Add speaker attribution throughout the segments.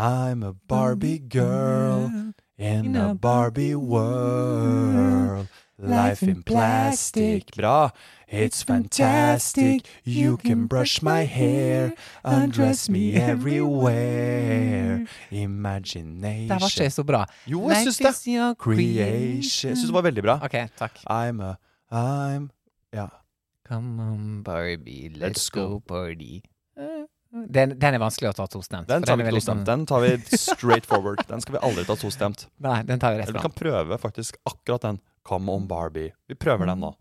Speaker 1: I'm a Barbie girl in a Barbie world. Life in plastic, bra. It's fantastic. You can brush my hair, undress me everywhere. Imagination.
Speaker 2: Det her var ikke så bra.
Speaker 1: Jo,
Speaker 2: Life
Speaker 1: jeg syns det.
Speaker 2: is your
Speaker 1: Creation. Jeg syns det var veldig bra.
Speaker 2: OK, takk.
Speaker 1: I'm a I'm Ja.
Speaker 2: Come on, Barbie, let's,
Speaker 1: Let's
Speaker 2: go.
Speaker 1: go.
Speaker 2: party. Eh, Den, den er vanskelig å ta tostemt.
Speaker 1: Den
Speaker 2: for
Speaker 1: tar vi
Speaker 2: er
Speaker 1: ikke
Speaker 2: veldig
Speaker 1: tostemt.
Speaker 2: sånn-
Speaker 1: Den tar vi straight forward. Den skal vi aldri ta tostemt.
Speaker 2: Nei, den tar vi rett
Speaker 1: Eller vi
Speaker 2: fram.
Speaker 1: kan prøve faktisk akkurat den. Come on, Barbie. Vi prøver den nå.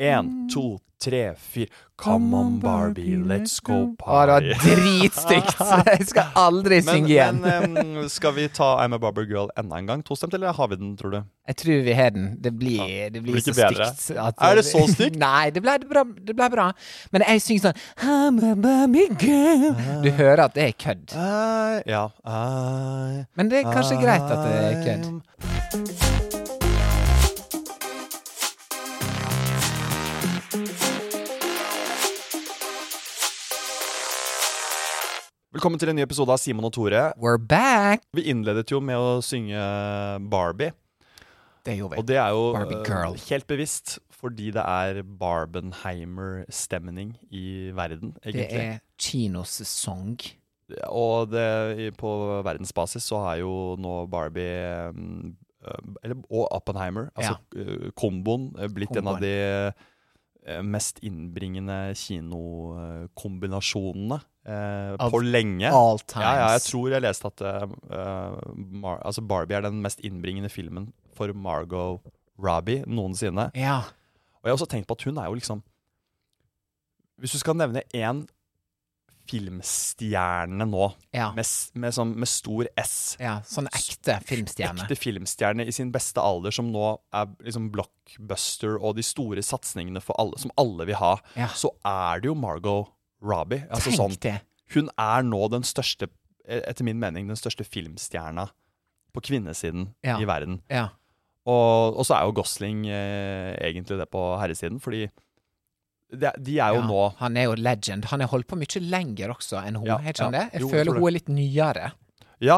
Speaker 1: Én, to, tre, fire. Mm. Come on, Barbie, let's go
Speaker 2: Å, det var
Speaker 1: party.
Speaker 2: dritstygt! Jeg skal aldri
Speaker 1: Men, eh,
Speaker 2: synge igjen.
Speaker 1: men em, skal vi ta I'm a Barber Girl enda en gang tostemt, eller har vi den, tror du?
Speaker 2: Jeg tror vi har den. Det blir, det blir
Speaker 1: blir
Speaker 2: så
Speaker 1: ikke bedre.
Speaker 2: stygt. at-
Speaker 1: Er det så stygt?
Speaker 2: Nei, det ble, det bra, det ble bra. Men jeg synger sånn I'm a Barbie girl. Du hører at det er kødd.
Speaker 1: Eh, ja. Eh,
Speaker 2: Men det er kanskje greit at det er kødd.
Speaker 1: I'm- Velkommen til en ny episode av Simon og Tore.
Speaker 2: We're back.
Speaker 1: Vi innledet jo med å synge Barbie.
Speaker 2: Det gjorde vi.
Speaker 1: Og det er jo
Speaker 2: Barbie
Speaker 1: eh,
Speaker 2: girl.
Speaker 1: helt bevisst fordi det er Barbenheimer-stemning i verden,
Speaker 2: det
Speaker 1: egentlig.
Speaker 2: er kinossesong.
Speaker 1: Og det, i- på verdensbasis så har jo nå Barbie mm, eh, eller, og Oppenheimer, altså eh, komboen, eh, blitt en av
Speaker 2: Komboen.
Speaker 1: de eh, mest innbringende kinokombinasjonene eh,
Speaker 2: Av
Speaker 1: på lenge.
Speaker 2: All times.
Speaker 1: Ja, ja, jeg tror jeg leste at eh, eh, Mar altså Barbie er den mest innbringende filmen for Margot Robbie noensinne.
Speaker 2: Ja.
Speaker 1: Og jeg har også tenkt på at hun er jo liksom Hvis du skal nevne én filmstjerne nå,
Speaker 2: ja.
Speaker 1: med, s- med, sånn, med stor S
Speaker 2: ja. Sånn ekte filmstjerne.
Speaker 1: Ekte filmstjerne i sin beste alder, som nå er liksom blockbuster og de store satsningene for alle, som alle vil ha,
Speaker 2: Ja.
Speaker 1: så er det jo Margot Robbie. Altså
Speaker 2: Tenk
Speaker 1: sånn,
Speaker 2: det.
Speaker 1: hun er nå den største, e, etter min mening, den største filmstjerna på kvinnesiden
Speaker 2: Ja.
Speaker 1: i verden.
Speaker 2: Ja.
Speaker 1: Og, og så er jo Gosling eh, egentlig det på herresiden, fordi det, de er jo
Speaker 2: Ja,
Speaker 1: nå
Speaker 2: Han er jo legend. Han har holdt på mye lenger også enn hun.
Speaker 1: Ja,
Speaker 2: er ikke han
Speaker 1: ja.
Speaker 2: det?
Speaker 1: Jo, jeg
Speaker 2: Jeg
Speaker 1: tror
Speaker 2: føler
Speaker 1: det.
Speaker 2: hun er litt nyere.
Speaker 1: Ja,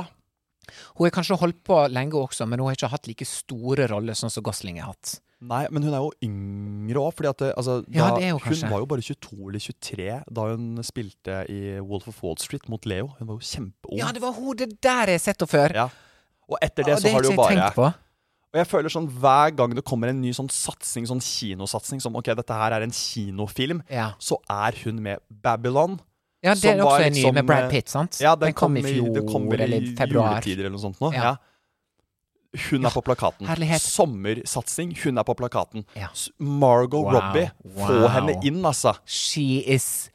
Speaker 2: Hun har kanskje holdt på lenge også, men hun har ikke hatt like store roller sånn som Gosling har hatt.
Speaker 1: nei, men hun er jo yngre òg, fordi at det, altså,
Speaker 2: Ja,
Speaker 1: da,
Speaker 2: det er jo
Speaker 1: Hun
Speaker 2: kanskje.
Speaker 1: var jo bare 22 eller 23 da hun spilte i Wolf of Wall Street mot Leo. Hun var jo kjempeung.
Speaker 2: Ja, det var hun! Det der jeg har sett henne før!
Speaker 1: Ja. Og etter
Speaker 2: Ja,
Speaker 1: det så har det jo
Speaker 2: ikke jeg
Speaker 1: bare
Speaker 2: tenkt på.
Speaker 1: Og jeg føler sånn hver gang det kommer en ny sånn satsing, sånn kinosatsing, som ok, dette her er en kinofilm,
Speaker 2: Ja,
Speaker 1: så er hun med Babylon.
Speaker 2: ja det
Speaker 1: Som
Speaker 2: er også
Speaker 1: var
Speaker 2: en ny
Speaker 1: liksom,
Speaker 2: med Brad
Speaker 1: eh,
Speaker 2: Pitt, sant?
Speaker 1: Ja, den,
Speaker 2: den kom i fjor
Speaker 1: den kom vel i
Speaker 2: eller i februar.
Speaker 1: juletider eller noe sånt nå.
Speaker 2: Ja.
Speaker 1: Ja. Hun er på plakaten.
Speaker 2: herlighet.
Speaker 1: Sommersatsing, hun er på plakaten.
Speaker 2: Ja.
Speaker 1: S- Margot
Speaker 2: Wow,
Speaker 1: Robbie, få
Speaker 2: wow.
Speaker 1: henne inn, altså.
Speaker 2: She is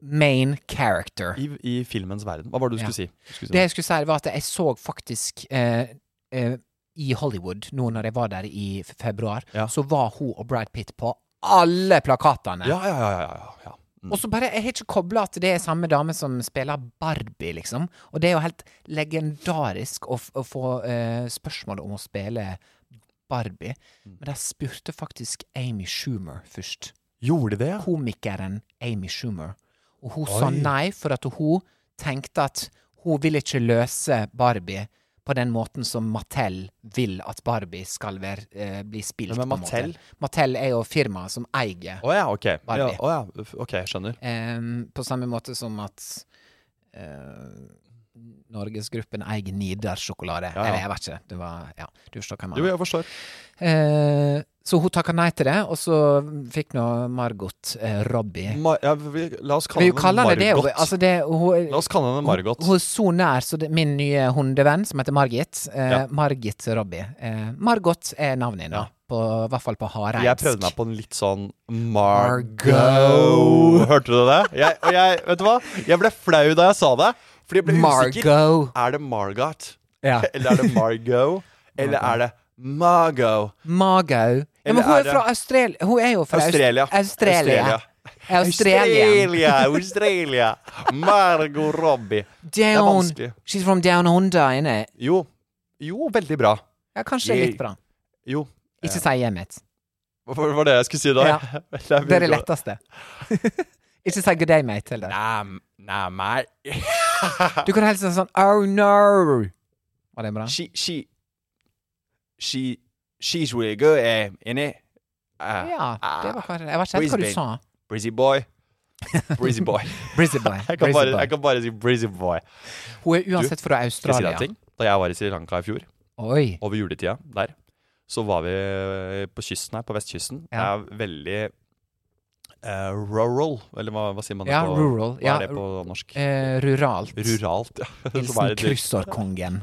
Speaker 2: main character.
Speaker 1: I, I filmens verden. Hva var det du
Speaker 2: Ja.
Speaker 1: skulle si? Du skulle si
Speaker 2: Det
Speaker 1: noe.
Speaker 2: jeg skulle si, var at jeg så faktisk eh, eh, i Hollywood, nå når jeg var der i f- februar,
Speaker 1: Ja.
Speaker 2: så var hun og Brad Pitt på alle plakatene.
Speaker 1: ja, ja, ja, ja, ja, ja. Mm.
Speaker 2: Og så bare, Jeg har ikke kobla at det er samme dame som spiller Barbie, liksom. Og det er jo helt legendarisk å, f å få eh, spørsmål om å spille Barbie.
Speaker 1: Mm.
Speaker 2: Men de spurte faktisk Amy Schumer først.
Speaker 1: Gjorde det?
Speaker 2: Komikeren Amy Schumer. Og hun
Speaker 1: Oi.
Speaker 2: sa nei, for at hun tenkte at hun vil ikke løse Barbie på den måten som Mattel vil at Barbie skal være, eh, bli spilt.
Speaker 1: Hvem er
Speaker 2: på en måte.
Speaker 1: Mattel?
Speaker 2: Mattel er jo firmaet som eier
Speaker 1: Å ja, ok. Ja,
Speaker 2: Barbie.
Speaker 1: å ja, f- ok, jeg skjønner.
Speaker 2: Ehm, på samme måte som at eh, Norgesgruppen eier Nidar-sjokolade.
Speaker 1: Ja, ja.
Speaker 2: Eller jeg vet ikke. Det var, ja, du forstår hva jeg
Speaker 1: Jo,
Speaker 2: mener.
Speaker 1: jeg forstår.
Speaker 2: Eh, så hun takka nei til det, og så fikk nå Margot eh, Robbie
Speaker 1: Ma ja, vi, la oss kalle
Speaker 2: Vi
Speaker 1: henne
Speaker 2: kaller henne det.
Speaker 1: Margot.
Speaker 2: Hun, altså det hun,
Speaker 1: La oss kalle henne Margot.
Speaker 2: Hun, hun er så nær så det, min nye hundevenn, som heter Margit. Eh,
Speaker 1: Ja.
Speaker 2: Margit Robbie. Eh, Margot er navnet hennes.
Speaker 1: Ja.
Speaker 2: på, i hvert fall på hardeinsk.
Speaker 1: Jeg prøvde meg på en litt sånn Margot. Hørte du det? Jeg, og jeg, vet du hva? Jeg ble flau da jeg sa det. Fordi jeg ble usikker.
Speaker 2: Margot.
Speaker 1: Er det Margot?
Speaker 2: Ja.
Speaker 1: Eller er det Margot? Eller er det Margot?
Speaker 2: Mago. Ja,
Speaker 1: Eller
Speaker 2: men hun
Speaker 1: er
Speaker 2: er
Speaker 1: det-
Speaker 2: fra Australia. Hun er jo fra Aust-
Speaker 1: Australia.
Speaker 2: Australia. Australia.
Speaker 1: Australia, Australia. Margot Robbie. er
Speaker 2: Down.
Speaker 1: vanskelig.
Speaker 2: She's from down under, innit?
Speaker 1: Jo. Jo, veldig bra.
Speaker 2: Ja, kanskje
Speaker 1: Yay.
Speaker 2: litt bra.
Speaker 1: Jo.
Speaker 2: Ikke si hjemmet.
Speaker 1: Hva var det jeg skulle si da?
Speaker 2: Ja.
Speaker 1: Det
Speaker 2: Det er det letteste. Ikke si good day, mate, til det.
Speaker 1: Nei, nei, meg.
Speaker 2: Du kan helst si sånn oh no. Var det bra?
Speaker 1: She, she, she, she's really good, eh, innit? Uh,
Speaker 2: Ja, det var kanskje Jeg var ikke helt hva du sa.
Speaker 1: Brizzy boy. Brizzy boy.
Speaker 2: Brizzy boy.
Speaker 1: jeg, kan
Speaker 2: Brizzy
Speaker 1: bare,
Speaker 2: boy.
Speaker 1: jeg kan bare si Brizzy boy.
Speaker 2: Hun er uansett fra
Speaker 1: Skal jeg si deg
Speaker 2: Australia.
Speaker 1: en ting? Da jeg var i Sri Lanka i fjor,
Speaker 2: Oi.
Speaker 1: over juletida der, så var vi eh, på kysten her, på vestkysten. Det
Speaker 2: Ja.
Speaker 1: er veldig eh, rural, eller hva, hva sier man det
Speaker 2: Ja,
Speaker 1: på
Speaker 2: rural,
Speaker 1: Hva
Speaker 2: ja.
Speaker 1: er det på norsk?
Speaker 2: Eh, ruralt.
Speaker 1: Ruralt, ja. Som er
Speaker 2: Hilsen
Speaker 1: et-
Speaker 2: kryssordkongen.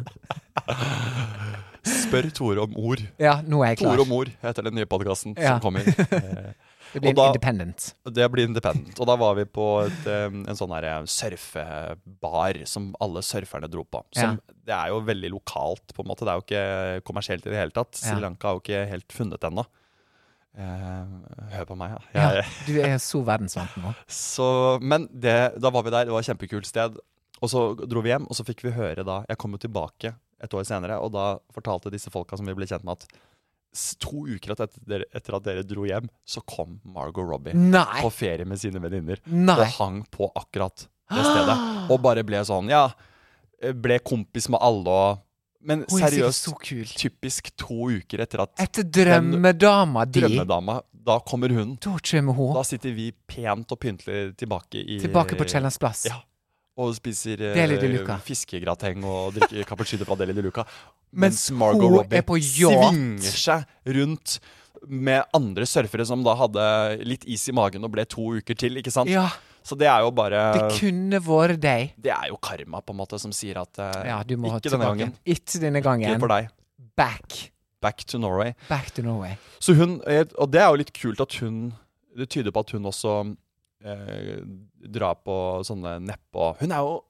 Speaker 1: Spør Tore om ord.
Speaker 2: Ja, nå er jeg klar.
Speaker 1: Tore om ord heter den nye podkasten
Speaker 2: Ja.
Speaker 1: som kommer. Eh,
Speaker 2: Det blir
Speaker 1: Og da-
Speaker 2: independent.
Speaker 1: Det blir independent. Og da var vi på et, em, en sånn her surfebar som alle surferne dro på. Som, Det er jo veldig lokalt, på en måte. Det er jo ikke kommersielt i det hele tatt. Sri
Speaker 2: Ja.
Speaker 1: Lanka har jo ikke helt funnet ennå. Eh, hør på meg, ja. Jeg,
Speaker 2: Ja, du er så verdensvant nå.
Speaker 1: så, men det, da var vi der, det var et kjempekult sted. Og så dro vi hjem, og så fikk vi høre da Jeg kom jo tilbake et år senere, og da fortalte disse folka som vi ble kjent med, at s- to uker at etter, dere- etter at dere dro hjem, så kom Margot Robbie
Speaker 2: Nei!
Speaker 1: på ferie med sine venninner og
Speaker 2: Nei!
Speaker 1: hang på akkurat det stedet. Og bare ble sånn, ja Ble kompis med alle og Men
Speaker 2: Hun er sikkert
Speaker 1: seriøst,
Speaker 2: så kul.
Speaker 1: typisk to uker etter at
Speaker 2: Etter drømmedama di,
Speaker 1: drømmedama Da kommer hun.
Speaker 2: da kommer hun
Speaker 1: Da sitter vi pent og pyntelig tilbake i
Speaker 2: tilbake på Kiellands plass.
Speaker 1: Ja. Og spiser eh,
Speaker 2: Deli de Luca.
Speaker 1: fiskegrateng og drikker cappuccino fra Deli de Luca. Mens
Speaker 2: Mens hun
Speaker 1: Margot
Speaker 2: er
Speaker 1: Robbie
Speaker 2: på yacht.
Speaker 1: svinger seg rundt med andre surfere som da hadde litt is i magen og ble to uker til, ikke sant?
Speaker 2: Ja,
Speaker 1: Så det er jo bare
Speaker 2: det kunne vært deg.
Speaker 1: Det er jo karma, på en måte, som sier at eh,
Speaker 2: Ja, du må
Speaker 1: ikke
Speaker 2: tilbake.
Speaker 1: denne gangen.
Speaker 2: Ikke denne
Speaker 1: Ikke
Speaker 2: gangen.
Speaker 1: for deg.
Speaker 2: Back.
Speaker 1: Back to Norway.
Speaker 2: Back to Norway.
Speaker 1: Så hun, eh, og det er jo litt kult at hun Det tyder på at hun også eh, drar på sånne neppe Hun er jo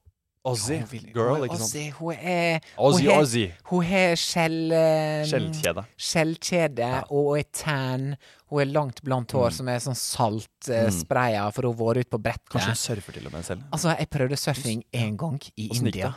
Speaker 1: Aussie
Speaker 2: Hun vil- hun
Speaker 1: girl,
Speaker 2: er
Speaker 1: ikke sant?
Speaker 2: Aussie, Hun er
Speaker 1: Aussie,
Speaker 2: hun er-
Speaker 1: Aussie.
Speaker 2: Hun har skjell... eh,
Speaker 1: Skjellkjede.
Speaker 2: Skjellkjede, og hun er tan. Hun er langt blant
Speaker 1: Mm.
Speaker 2: hår som er sånn saltspraya, for hun har vært ute på brettet.
Speaker 1: Kanskje hun surfer til og med selv.
Speaker 2: Altså, jeg prøvde surfing én gang i
Speaker 1: Og snikte.
Speaker 2: India.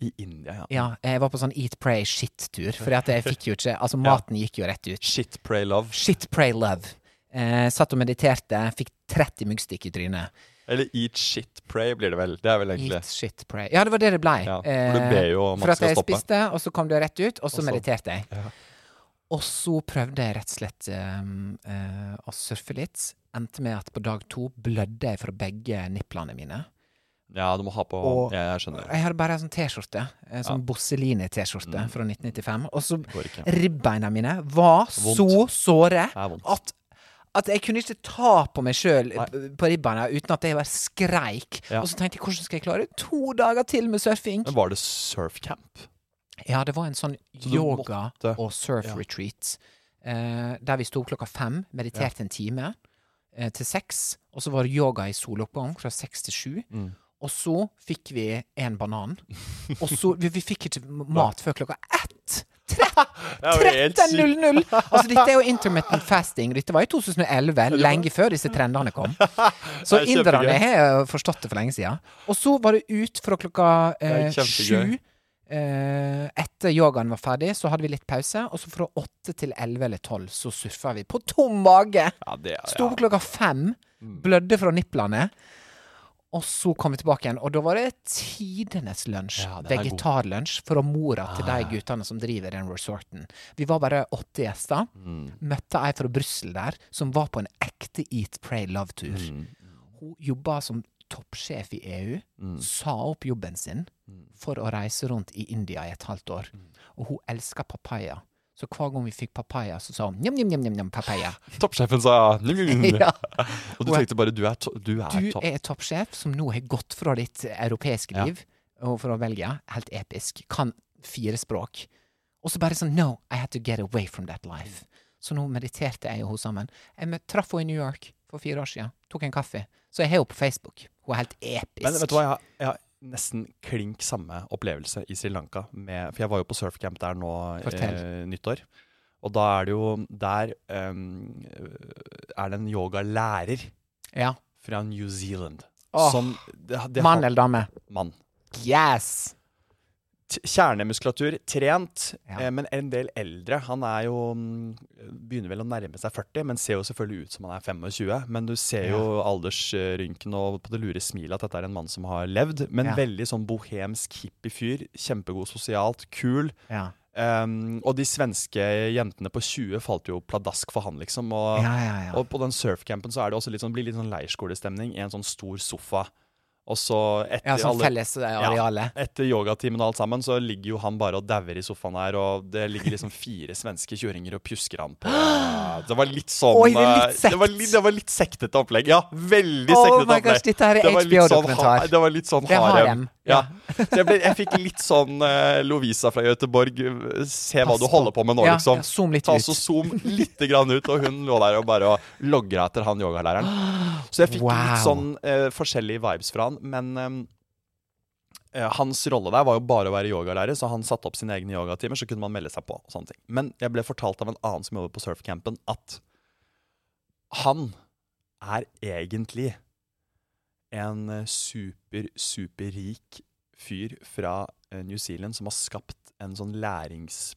Speaker 1: I India, ja.
Speaker 2: Ja, jeg var på sånn eat, pray, shit-tur. Fordi at jeg fikk jo ikke Altså, maten gikk jo rett ut.
Speaker 1: Shit, pray, love.
Speaker 2: Shit, pray, love. Eh, satt og mediterte, fikk 30 myggstikk i trynet.
Speaker 1: Eller eat shit, pray blir det vel. Det er vel egentlig
Speaker 2: Eat, shit, pray. Ja, det var det Eh, det blei.
Speaker 1: Ja, for du ber jo om at
Speaker 2: for
Speaker 1: det
Speaker 2: at
Speaker 1: skal
Speaker 2: jeg
Speaker 1: stoppe.
Speaker 2: spiste, og så kom det rett ut, og så
Speaker 1: så-
Speaker 2: mediterte jeg.
Speaker 1: Ja.
Speaker 2: Og så prøvde jeg rett og slett ehm, eh, å surfe litt. Endte med at på dag to blødde jeg fra begge niplene mine.
Speaker 1: Ja, du må ha på
Speaker 2: Og-
Speaker 1: Ja, jeg skjønner.
Speaker 2: Jeg hadde bare en sånn T-skjorte, en sånn Bosseline-T-skjorte fra 1995. Og så
Speaker 1: Mm. går ikke.
Speaker 2: ribbeina mine var så såre
Speaker 1: Det er vondt.
Speaker 2: at, at jeg kunne ikke ta på meg sjøl på ribbeina uten at jeg bare skreik.
Speaker 1: Ja.
Speaker 2: Og så tenkte jeg hvordan skal jeg klare to dager til med surfing?
Speaker 1: Men var det surfcamp?
Speaker 2: Ja, det var en sånn
Speaker 1: du
Speaker 2: yoga-
Speaker 1: måtte- Ja.
Speaker 2: og surf-retreat. eh, der vi sto klokka fem, mediterte en time eh, til seks. Og så var det yoga i soloppgang fra seks til sju.
Speaker 1: Mm.
Speaker 2: Og så fikk vi en banan. Og så Vi, vi fikk ikke m- mat før klokka ett!
Speaker 1: Det er jo helt sykt.
Speaker 2: 13.00! Altså, dette er jo intermittent fasting. Dette var i 2011, lenge før disse trendene kom. Så
Speaker 1: Det er
Speaker 2: inderne
Speaker 1: kjempegøy.
Speaker 2: har jo forstått det for lenge siden. Og så var det ut fra klokka eh,
Speaker 1: Det er kjempegøy.
Speaker 2: sju. Eh, etter yogaen var ferdig, så hadde vi litt pause. Og så fra åtte til elleve eller tolv så surfa vi på tom mage!
Speaker 1: Ja, det er
Speaker 2: Sto
Speaker 1: ja.
Speaker 2: opp klokka fem,
Speaker 1: Mm.
Speaker 2: blødde fra niplene. Og så kom vi tilbake igjen, og da var det tidenes lunsj.
Speaker 1: Ja, den er Ah. god.
Speaker 2: Vegetarlunsj fra mora til de guttene som driver den resorten. Vi var bare åtte gjester.
Speaker 1: Mm.
Speaker 2: Møtte ei fra Brussel der, som var på en ekte Eat, Pray, Love-tur.
Speaker 1: Mm.
Speaker 2: Hun jobba som toppsjef i EU,
Speaker 1: Mm.
Speaker 2: sa opp jobben sin for å reise rundt i India i et halvt år.
Speaker 1: Mm.
Speaker 2: Og hun elska papaya. Så hver gang vi fikk papaya, så sa hun njam, njam, njam, njam, njam, papaya.
Speaker 1: Toppsjefen sa
Speaker 2: ja.
Speaker 1: Og du tenkte bare du er, to du er
Speaker 2: Du
Speaker 1: topp.
Speaker 2: er toppsjef som nå har gått fra ditt europeiske
Speaker 1: Ja.
Speaker 2: liv og fra Belgia, helt episk, kan fire språk, og så bare sånn No, I had to get away from that life. Så nå mediterte jeg og hun sammen. Jeg mø- traff henne i New York for fire år siden. Tok en kaffe. Så jeg har henne på Facebook. Hun er helt episk.
Speaker 1: Men vet du hva, jeg har, jeg har nesten klink samme opplevelse i Sri Lanka. Med, for jeg var jo på surfcamp der nå eh,
Speaker 2: Fortell.
Speaker 1: nyttår. Og da er det jo Der em, er det en yogalærer
Speaker 2: Ja.
Speaker 1: fra New Zealand.
Speaker 2: Åh,
Speaker 1: som det, det
Speaker 2: Mann eller dame?
Speaker 1: mann.
Speaker 2: Yes!
Speaker 1: T- Kjernemuskulatur, trent,
Speaker 2: Ja.
Speaker 1: eh, men en del eldre. Han er jo mm, Begynner vel å nærme seg 40, men ser jo selvfølgelig ut som han er 25. Men du ser jo aldersrynken og på det lure smilet at dette er en mann som har levd. Men
Speaker 2: Ja.
Speaker 1: veldig sånn bohemsk hippie fyr. Kjempegod sosialt, kul.
Speaker 2: Ja.
Speaker 1: Em, og de svenske jentene på 20 falt jo pladask for han, liksom. Og,
Speaker 2: Ja, ja, ja.
Speaker 1: og på den surfcampen så er det også litt sånn, blir litt sånn leirskolestemning i en sånn stor sofa. Og så etter
Speaker 2: Ja, sånn
Speaker 1: alle
Speaker 2: fellesareale.
Speaker 1: etter yogatimen og alt sammen, så ligger jo han bare og dauer i sofaen her, og det ligger liksom fire svenske kjøringer og pjusker han på. Det var litt sånn
Speaker 2: Oi, det er litt
Speaker 1: eh, det, var
Speaker 2: sekt.
Speaker 1: litt, det var litt sektete opplegg. Ja, veldig
Speaker 2: Oh
Speaker 1: sektete
Speaker 2: my
Speaker 1: opplegg.
Speaker 2: gosh, dette her er
Speaker 1: Det var litt sånn
Speaker 2: HBO-dokumentar.
Speaker 1: ha- Det var litt sånn
Speaker 2: Det har
Speaker 1: harem.
Speaker 2: dem.
Speaker 1: Ja. Så jeg, ble, jeg fikk litt sånn eh, Lovisa fra Göteborg, eh, se hva
Speaker 2: Pass
Speaker 1: du
Speaker 2: på.
Speaker 1: holder på med nå,
Speaker 2: Ja,
Speaker 1: liksom.
Speaker 2: ja, zoom litt
Speaker 1: Ta
Speaker 2: ut.
Speaker 1: så zoom litt grann ut, og hun lå der og bare og logra etter han yogalæreren. Så jeg fikk litt
Speaker 2: Wow.
Speaker 1: sånn eh, forskjellige vibes fra han, men ehm, Eh, Hans rolle der var jo bare å være yogalærer, så han satte opp sine egne yogatimer. Så kunne man melde seg på. og sånne ting. Men jeg ble fortalt av en annen som jobber på surfcampen, at han er egentlig en eh, super, superrik fyr fra eh, New Zealand som har skapt en sånn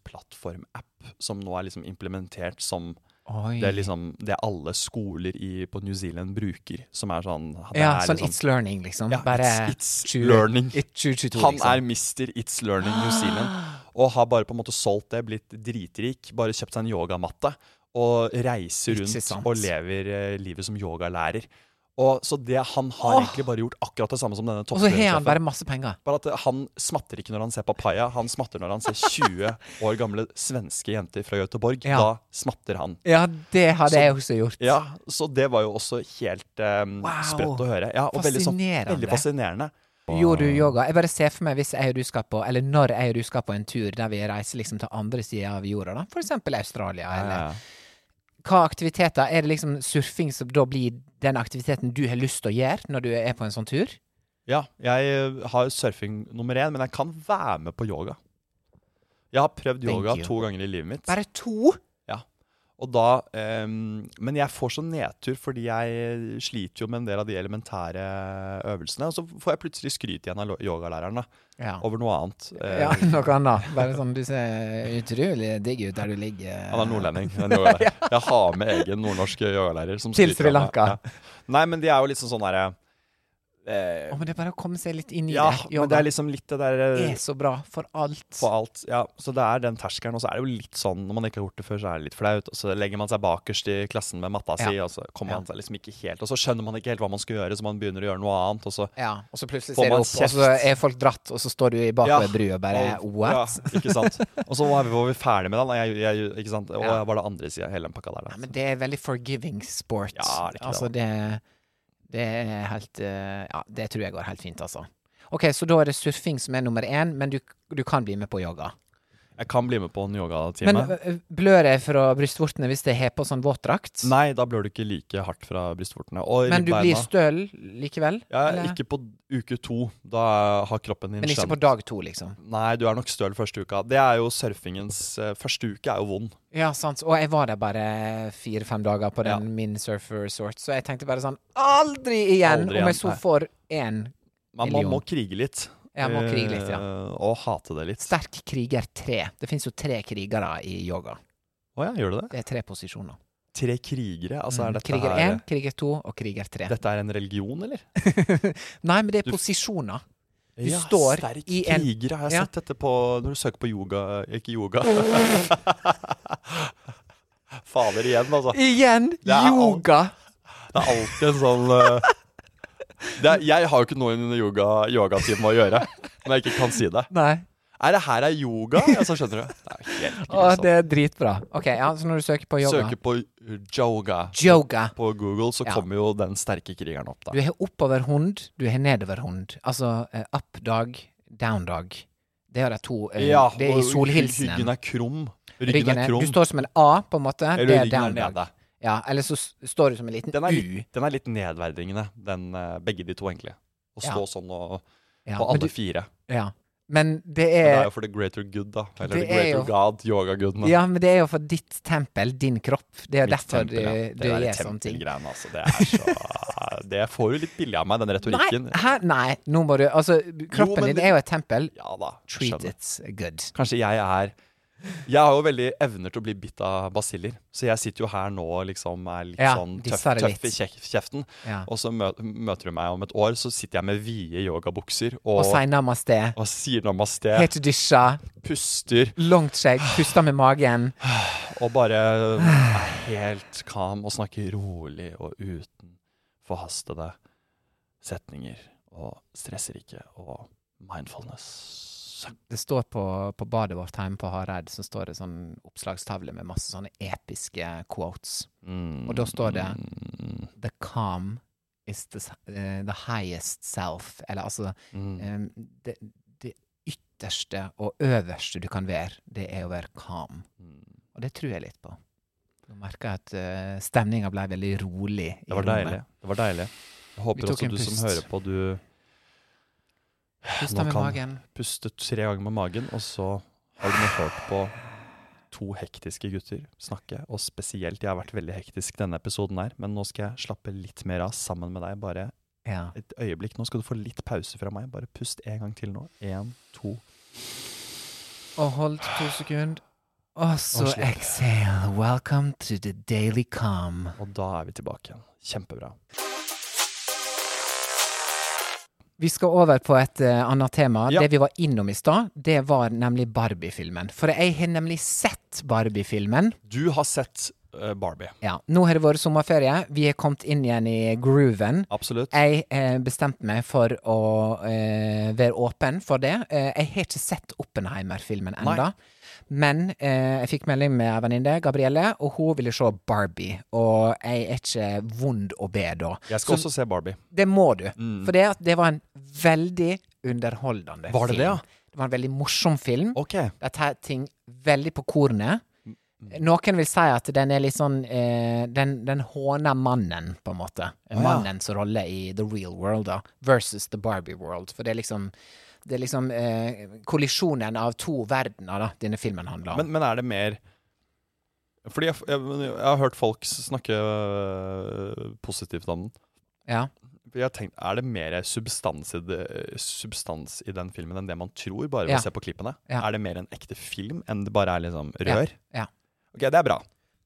Speaker 1: læringsplattform-app som nå er liksom implementert som
Speaker 2: Oi.
Speaker 1: det, er liksom, det alle skoler i, på New Zealand bruker. Som er sånn det
Speaker 2: ja,
Speaker 1: er
Speaker 2: sånn
Speaker 1: liksom-
Speaker 2: It's Learning, liksom.
Speaker 1: Ja,
Speaker 2: Bare
Speaker 1: it's- it's learning.
Speaker 2: i 2022,
Speaker 1: Han
Speaker 2: liksom.
Speaker 1: er Mr. It's Learning New Zealand. Og har bare på en måte solgt det, blitt dritrik, bare kjøpt seg en yogamatte. Og reiser
Speaker 2: Ikke
Speaker 1: rundt
Speaker 2: sant.
Speaker 1: og lever eh, livet som yogalærer. Og Så det han har egentlig bare gjort akkurat det samme som denne
Speaker 2: Og så har han
Speaker 1: toppidrettssjefen.
Speaker 2: bare masse penger.
Speaker 1: Bare at eh, han smatter ikke når han ser papaya, han smatter når han ser 20 år gamle svenske jenter fra Göteborg.
Speaker 2: Ja.
Speaker 1: Da smatter han.
Speaker 2: Ja, det hadde
Speaker 1: Så-
Speaker 2: jeg også gjort.
Speaker 1: Ja, så det var jo også helt eh, sprøtt å høre. Ja, og Veldig,
Speaker 2: Fascinerende.
Speaker 1: sånn, veldig fascinerende.
Speaker 2: Gjorde du yoga? Jeg bare ser for meg hvis jeg og du skal på, eller når jeg og du skal på en tur der vi reiser liksom til andre sida av jorda, da. For eksempel Australia, eller Hva aktiviteter? Er det liksom surfing som da blir den aktiviteten du har lyst til å gjøre når du er på en sånn tur?
Speaker 1: Ja, jeg eh, har surfing nummer én, men jeg kan være med på yoga. Jeg har prøvd
Speaker 2: Thank
Speaker 1: yoga
Speaker 2: you.
Speaker 1: to ganger i livet mitt.
Speaker 2: Bare to?
Speaker 1: Ja. Og da, ehm, men jeg får så nedtur fordi jeg sliter jo med en del av de elementære øvelsene. Og så får jeg plutselig skryt igjen av lo- yogalæreren da,
Speaker 2: Ja.
Speaker 1: over noe annet. Eh,
Speaker 2: Ja, noe annet. Bare sånn, du ser utrolig digg ut der du ligger.
Speaker 1: Han er nordlending. Han er yogalærer. Jeg har med egen nordnorsk yogalærer. Som
Speaker 2: Til
Speaker 1: skryter
Speaker 2: Sri
Speaker 1: av meg.
Speaker 2: Lanka.
Speaker 1: Ja. Nei, men de er jo liksom sånn derre eh,
Speaker 2: Å, men det er bare å komme seg litt inn i
Speaker 1: Ja,
Speaker 2: det.
Speaker 1: men det er liksom litt det derre
Speaker 2: er så bra for alt.
Speaker 1: på alt. Ja, så det er den terskelen. Og så er det jo litt sånn, når man ikke har gjort det før, så er det litt flaut. Og så legger man seg bakerst i klassen med matta si,
Speaker 2: Ja.
Speaker 1: og så kommer
Speaker 2: Ja.
Speaker 1: man seg liksom ikke helt Og så skjønner man ikke helt hva man skal gjøre, så man begynner å gjøre noe annet, og så
Speaker 2: Ja, og så plutselig
Speaker 1: Får
Speaker 2: ser du
Speaker 1: man
Speaker 2: opp, og så
Speaker 1: kjeft?
Speaker 2: er folk dratt, og så står du i bak
Speaker 1: Ja.
Speaker 2: ved brua og bare
Speaker 1: Og-
Speaker 2: What?
Speaker 1: Ja, ikke sant. Og så var vi, var vi ferdig med den. og Jeg, jeg, ikke sant? Og
Speaker 2: Ja.
Speaker 1: jeg var det andre sida, hele den pakka der.
Speaker 2: Ja,
Speaker 1: Da.
Speaker 2: men det er veldig forgiving sport.
Speaker 1: Ja, det er ikke det,
Speaker 2: altså, det, det er helt eh, Ja, det tror jeg går helt fint, altså. Ok, så da er det surfing som er nummer én, men du, du kan bli med på yoga.
Speaker 1: Jeg kan bli med på en
Speaker 2: Men
Speaker 1: yogatime.
Speaker 2: eh, blør jeg fra brystvortene hvis jeg har på sånn våtdrakt?
Speaker 1: Nei, da blør du ikke like hardt fra brystvortene. Og
Speaker 2: Men du blir
Speaker 1: ribbeina.
Speaker 2: støl likevel?
Speaker 1: Ja,
Speaker 2: eller?
Speaker 1: ikke på uke to. Da har kroppen din
Speaker 2: men ikke på
Speaker 1: skjønt
Speaker 2: dag to, liksom?
Speaker 1: Nei, du er nok støl første uka. Det er jo surfingens eh, Første uke er jo vond.
Speaker 2: Ja, sant. Og jeg var der bare fire-fem dager på den
Speaker 1: Ja.
Speaker 2: min surfer resort, så jeg tenkte bare sånn Aldri igjen!
Speaker 1: Aldri
Speaker 2: om jeg
Speaker 1: igjen,
Speaker 2: så
Speaker 1: nei.
Speaker 2: får én
Speaker 1: Man, man
Speaker 2: Million.
Speaker 1: må krige litt.
Speaker 2: Ja, man må krige litt, ja.
Speaker 1: Eh, Og hate det litt.
Speaker 2: sterk kriger tre. Det fins jo tre krigere i yoga.
Speaker 1: Å ja, gjør du det?
Speaker 2: Det er tre posisjoner.
Speaker 1: Tre krigere? Altså, er
Speaker 2: Mm.
Speaker 1: dette
Speaker 2: kriger
Speaker 1: her
Speaker 2: én, kriger to og kriger tre.
Speaker 1: Dette er en religion, eller?
Speaker 2: Nei, men det er
Speaker 1: Du-
Speaker 2: posisjoner. Du
Speaker 1: ja,
Speaker 2: står
Speaker 1: sterk
Speaker 2: i en-
Speaker 1: krigere. Har jeg
Speaker 2: Ja.
Speaker 1: sett dette på Når du søker på yoga Ikke yoga. Fader igjen, altså.
Speaker 2: Igjen!
Speaker 1: Det er alt.
Speaker 2: Yoga!
Speaker 1: Det er alltid en sånn eh, det er, Jeg har jo ikke noe under yoga, yogatimen å gjøre når jeg ikke kan si det.
Speaker 2: Nei.
Speaker 1: Er det her er yoga? Ja, så skjønner du. Det er helt
Speaker 2: Å,
Speaker 1: grusomt.
Speaker 2: det er dritbra. Ok, ja, så når du søker på yoga
Speaker 1: Søker på eh, yoga
Speaker 2: Yoga.
Speaker 1: på Google, så
Speaker 2: Ja.
Speaker 1: kommer jo den sterke krigeren opp, da.
Speaker 2: Du har oppover hund, du har nedover hund. Altså eh, up dog, down dog. Det er jo de to eh,
Speaker 1: Ja,
Speaker 2: Det er i
Speaker 1: og Ryggen
Speaker 2: solhilsenen.
Speaker 1: er krum. Ryggen
Speaker 2: Ryggen
Speaker 1: er
Speaker 2: er,
Speaker 1: krum.
Speaker 2: du står som en A, på en måte.
Speaker 1: eller
Speaker 2: det er
Speaker 1: ryggen er
Speaker 2: down
Speaker 1: nede.
Speaker 2: dog. Ja, eller så s- står du som en liten
Speaker 1: Den er,
Speaker 2: U.
Speaker 1: litt, den er litt nedverdigende, den, eh, begge de to, egentlig. Å
Speaker 2: Ja.
Speaker 1: stå sånn og,
Speaker 2: Ja,
Speaker 1: på
Speaker 2: men
Speaker 1: alle
Speaker 2: du-
Speaker 1: fire.
Speaker 2: ja. Men det
Speaker 1: Men det er
Speaker 2: er
Speaker 1: jo for the greater good, da. Eller
Speaker 2: det
Speaker 1: the
Speaker 2: er
Speaker 1: greater
Speaker 2: jo-
Speaker 1: god, yogagudene.
Speaker 2: Ja, men det er jo for ditt tempel, din kropp. Det er jo
Speaker 1: Mitt
Speaker 2: derfor
Speaker 1: tempel, ja.
Speaker 2: du, du
Speaker 1: der
Speaker 2: gjør sånne ting.
Speaker 1: tempelgreiene, altså. Det er så Det får du litt billig av meg, den retorikken.
Speaker 2: Nei, hæ? Nei, nå må du Altså, kroppen
Speaker 1: men
Speaker 2: din
Speaker 1: det-
Speaker 2: er jo et tempel.
Speaker 1: Ja da.
Speaker 2: Treat
Speaker 1: skjønner.
Speaker 2: it good.
Speaker 1: Kanskje jeg er Jeg har jo veldig evner til å bli bitt av basiller. Så jeg sitter jo her nå og liksom er litt
Speaker 2: Ja,
Speaker 1: sånn tøff,
Speaker 2: disser det
Speaker 1: tøff i
Speaker 2: litt.
Speaker 1: kjek- kjeften.
Speaker 2: Ja.
Speaker 1: Og så mø- møter du meg om et år, så sitter jeg med vide yogabukser og,
Speaker 2: Og si namaste.
Speaker 1: og Ah. sier namaste,
Speaker 2: Helt dusja,
Speaker 1: puster
Speaker 2: langt skjegg, puster med magen.
Speaker 1: og bare er helt calm og snakker rolig og uten forhastede setninger. Og stresser ikke. Og mindfulness.
Speaker 2: Det står på, på badet vårt hjemme på Hareid så står det sånn oppslagstavle med masse sånne episke quotes.
Speaker 1: Mm.
Speaker 2: Og da står det
Speaker 1: Mm.
Speaker 2: The calm is the, s- eh, the highest self. Eller altså
Speaker 1: Mm.
Speaker 2: eh, det, det ytterste og øverste du kan være, det er å være calm. Og det tror jeg litt på. Nå merker jeg at uh, stemninga ble veldig rolig. i
Speaker 1: Det var
Speaker 2: rommet.
Speaker 1: deilig. Det var deilig. Jeg
Speaker 2: Vi
Speaker 1: håper
Speaker 2: tok
Speaker 1: også
Speaker 2: en
Speaker 1: du
Speaker 2: pust.
Speaker 1: som hører på, du
Speaker 2: Pusta
Speaker 1: Nå
Speaker 2: med
Speaker 1: kan-
Speaker 2: magen.
Speaker 1: puster tre ganger med magen, og så har du nå hørt på to hektiske gutter snakke. Og spesielt, jeg har vært veldig hektisk denne episoden her, men nå skal jeg slappe litt mer av sammen med deg. Bare
Speaker 2: Ja.
Speaker 1: et øyeblikk. Nå skal du få litt pause fra meg. Bare pust en gang til nå. Én, to.
Speaker 2: Og hold to sekunder. Og så
Speaker 1: slipp.
Speaker 2: exhale. Welcome to the daily calm.
Speaker 1: Og da er vi tilbake igjen. Kjempebra.
Speaker 2: Vi skal over på et eh, annet tema.
Speaker 1: Ja.
Speaker 2: Det vi var innom i stad, det var nemlig Barbie-filmen. For jeg har nemlig sett Barbie-filmen.
Speaker 1: Du har sett eh, Barbie.
Speaker 2: Ja. Nå har det vært sommerferie. Vi har kommet inn igjen i grooven.
Speaker 1: Absolutt.
Speaker 2: Jeg eh, bestemte meg for å eh, være åpen for det. Eh, jeg har ikke sett Oppenheimer-filmen ennå. Men eh, jeg fikk melding med en venninne, Gabrielle, og hun ville se Barbie. Og jeg er ikke vond å be da.
Speaker 1: Jeg skal også se Barbie.
Speaker 2: Det må du.
Speaker 1: Mm.
Speaker 2: For det, at det var en veldig underholdende
Speaker 1: Var det det,
Speaker 2: film.
Speaker 1: ja?
Speaker 2: Det var en veldig morsom film.
Speaker 1: Ok.
Speaker 2: De tar ting veldig på kornet.
Speaker 1: Mm,
Speaker 2: Noen vil si at den er litt sånn eh, den, den håner mannen, på en måte. Mannens rolle i the real world da, versus the Barbie world. For det er liksom, det er liksom eh, kollisjonen av to verdener da, denne filmen handler om.
Speaker 1: Men, men er det mer Fordi jeg, jeg, jeg har hørt folk snakke øh, positivt om den.
Speaker 2: ja.
Speaker 1: For Jeg har tenkt, Er det mer substans i, det, substans i den filmen enn det man tror, bare ved
Speaker 2: Ja.
Speaker 1: å se på klippene?
Speaker 2: Ja.
Speaker 1: Er det mer en ekte film enn det bare er liksom
Speaker 2: Ja.
Speaker 1: rør?
Speaker 2: ja.
Speaker 1: Ok, det er bra.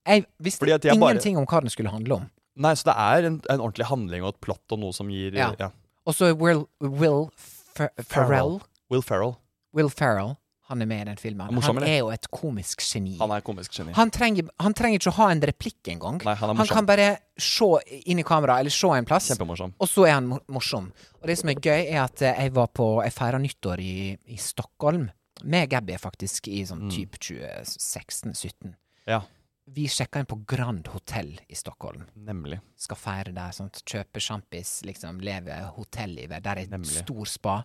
Speaker 2: Jeg
Speaker 1: Fordi
Speaker 2: visste
Speaker 1: at jeg bare-
Speaker 2: ingenting om hva den skulle handle om.
Speaker 1: Nei, Så det er en, en ordentlig handling og et plott og noe som gir
Speaker 2: Ja.
Speaker 1: ja.
Speaker 2: Og så Will, Will Fer Ferrell
Speaker 1: Will Ferrell.
Speaker 2: Will Ferrell, han er med i den filmen.
Speaker 1: Morsom,
Speaker 2: han
Speaker 1: eller?
Speaker 2: er jo et komisk geni.
Speaker 1: Han er komisk geni.
Speaker 2: Han trenger, han trenger ikke å ha en replikk engang.
Speaker 1: Nei, han er morsom.
Speaker 2: kan bare se inn i kamera, eller se en plass,
Speaker 1: Kjempemorsom.
Speaker 2: og så er han mor- morsom. Og det som er gøy, er at eh, jeg var på Jeg feira nyttår i, i Stockholm, med Gabby, faktisk, i
Speaker 1: Mm.
Speaker 2: sånn type 2016-17.
Speaker 1: Ja,
Speaker 2: Vi sjekka inn på Grand Hotell i Stockholm
Speaker 1: nemlig.
Speaker 2: skal feire der, sånt, kjøpe sjampis, liksom leve hotellivet. Der er et
Speaker 1: Nemlig.
Speaker 2: stor spa.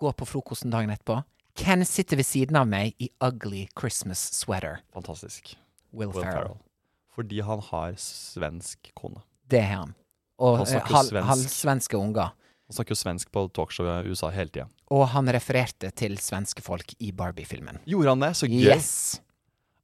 Speaker 2: Gå på frokosten dagen etterpå. Ken sitter ved siden av meg i ugly Christmas sweater.
Speaker 1: Fantastisk.
Speaker 2: Will,
Speaker 1: Will
Speaker 2: Ferrell.
Speaker 1: Ferrell. Fordi han har svensk kone.
Speaker 2: Det er han. Og
Speaker 1: Han snakker
Speaker 2: halv,
Speaker 1: svensk.
Speaker 2: halvsvenske unger.
Speaker 1: Han snakker jo svensk på talkshow i USA hele tida.
Speaker 2: Og han refererte til svenske folk i Barbie-filmen.
Speaker 1: Gjorde han det? Så gøy!
Speaker 2: Yes!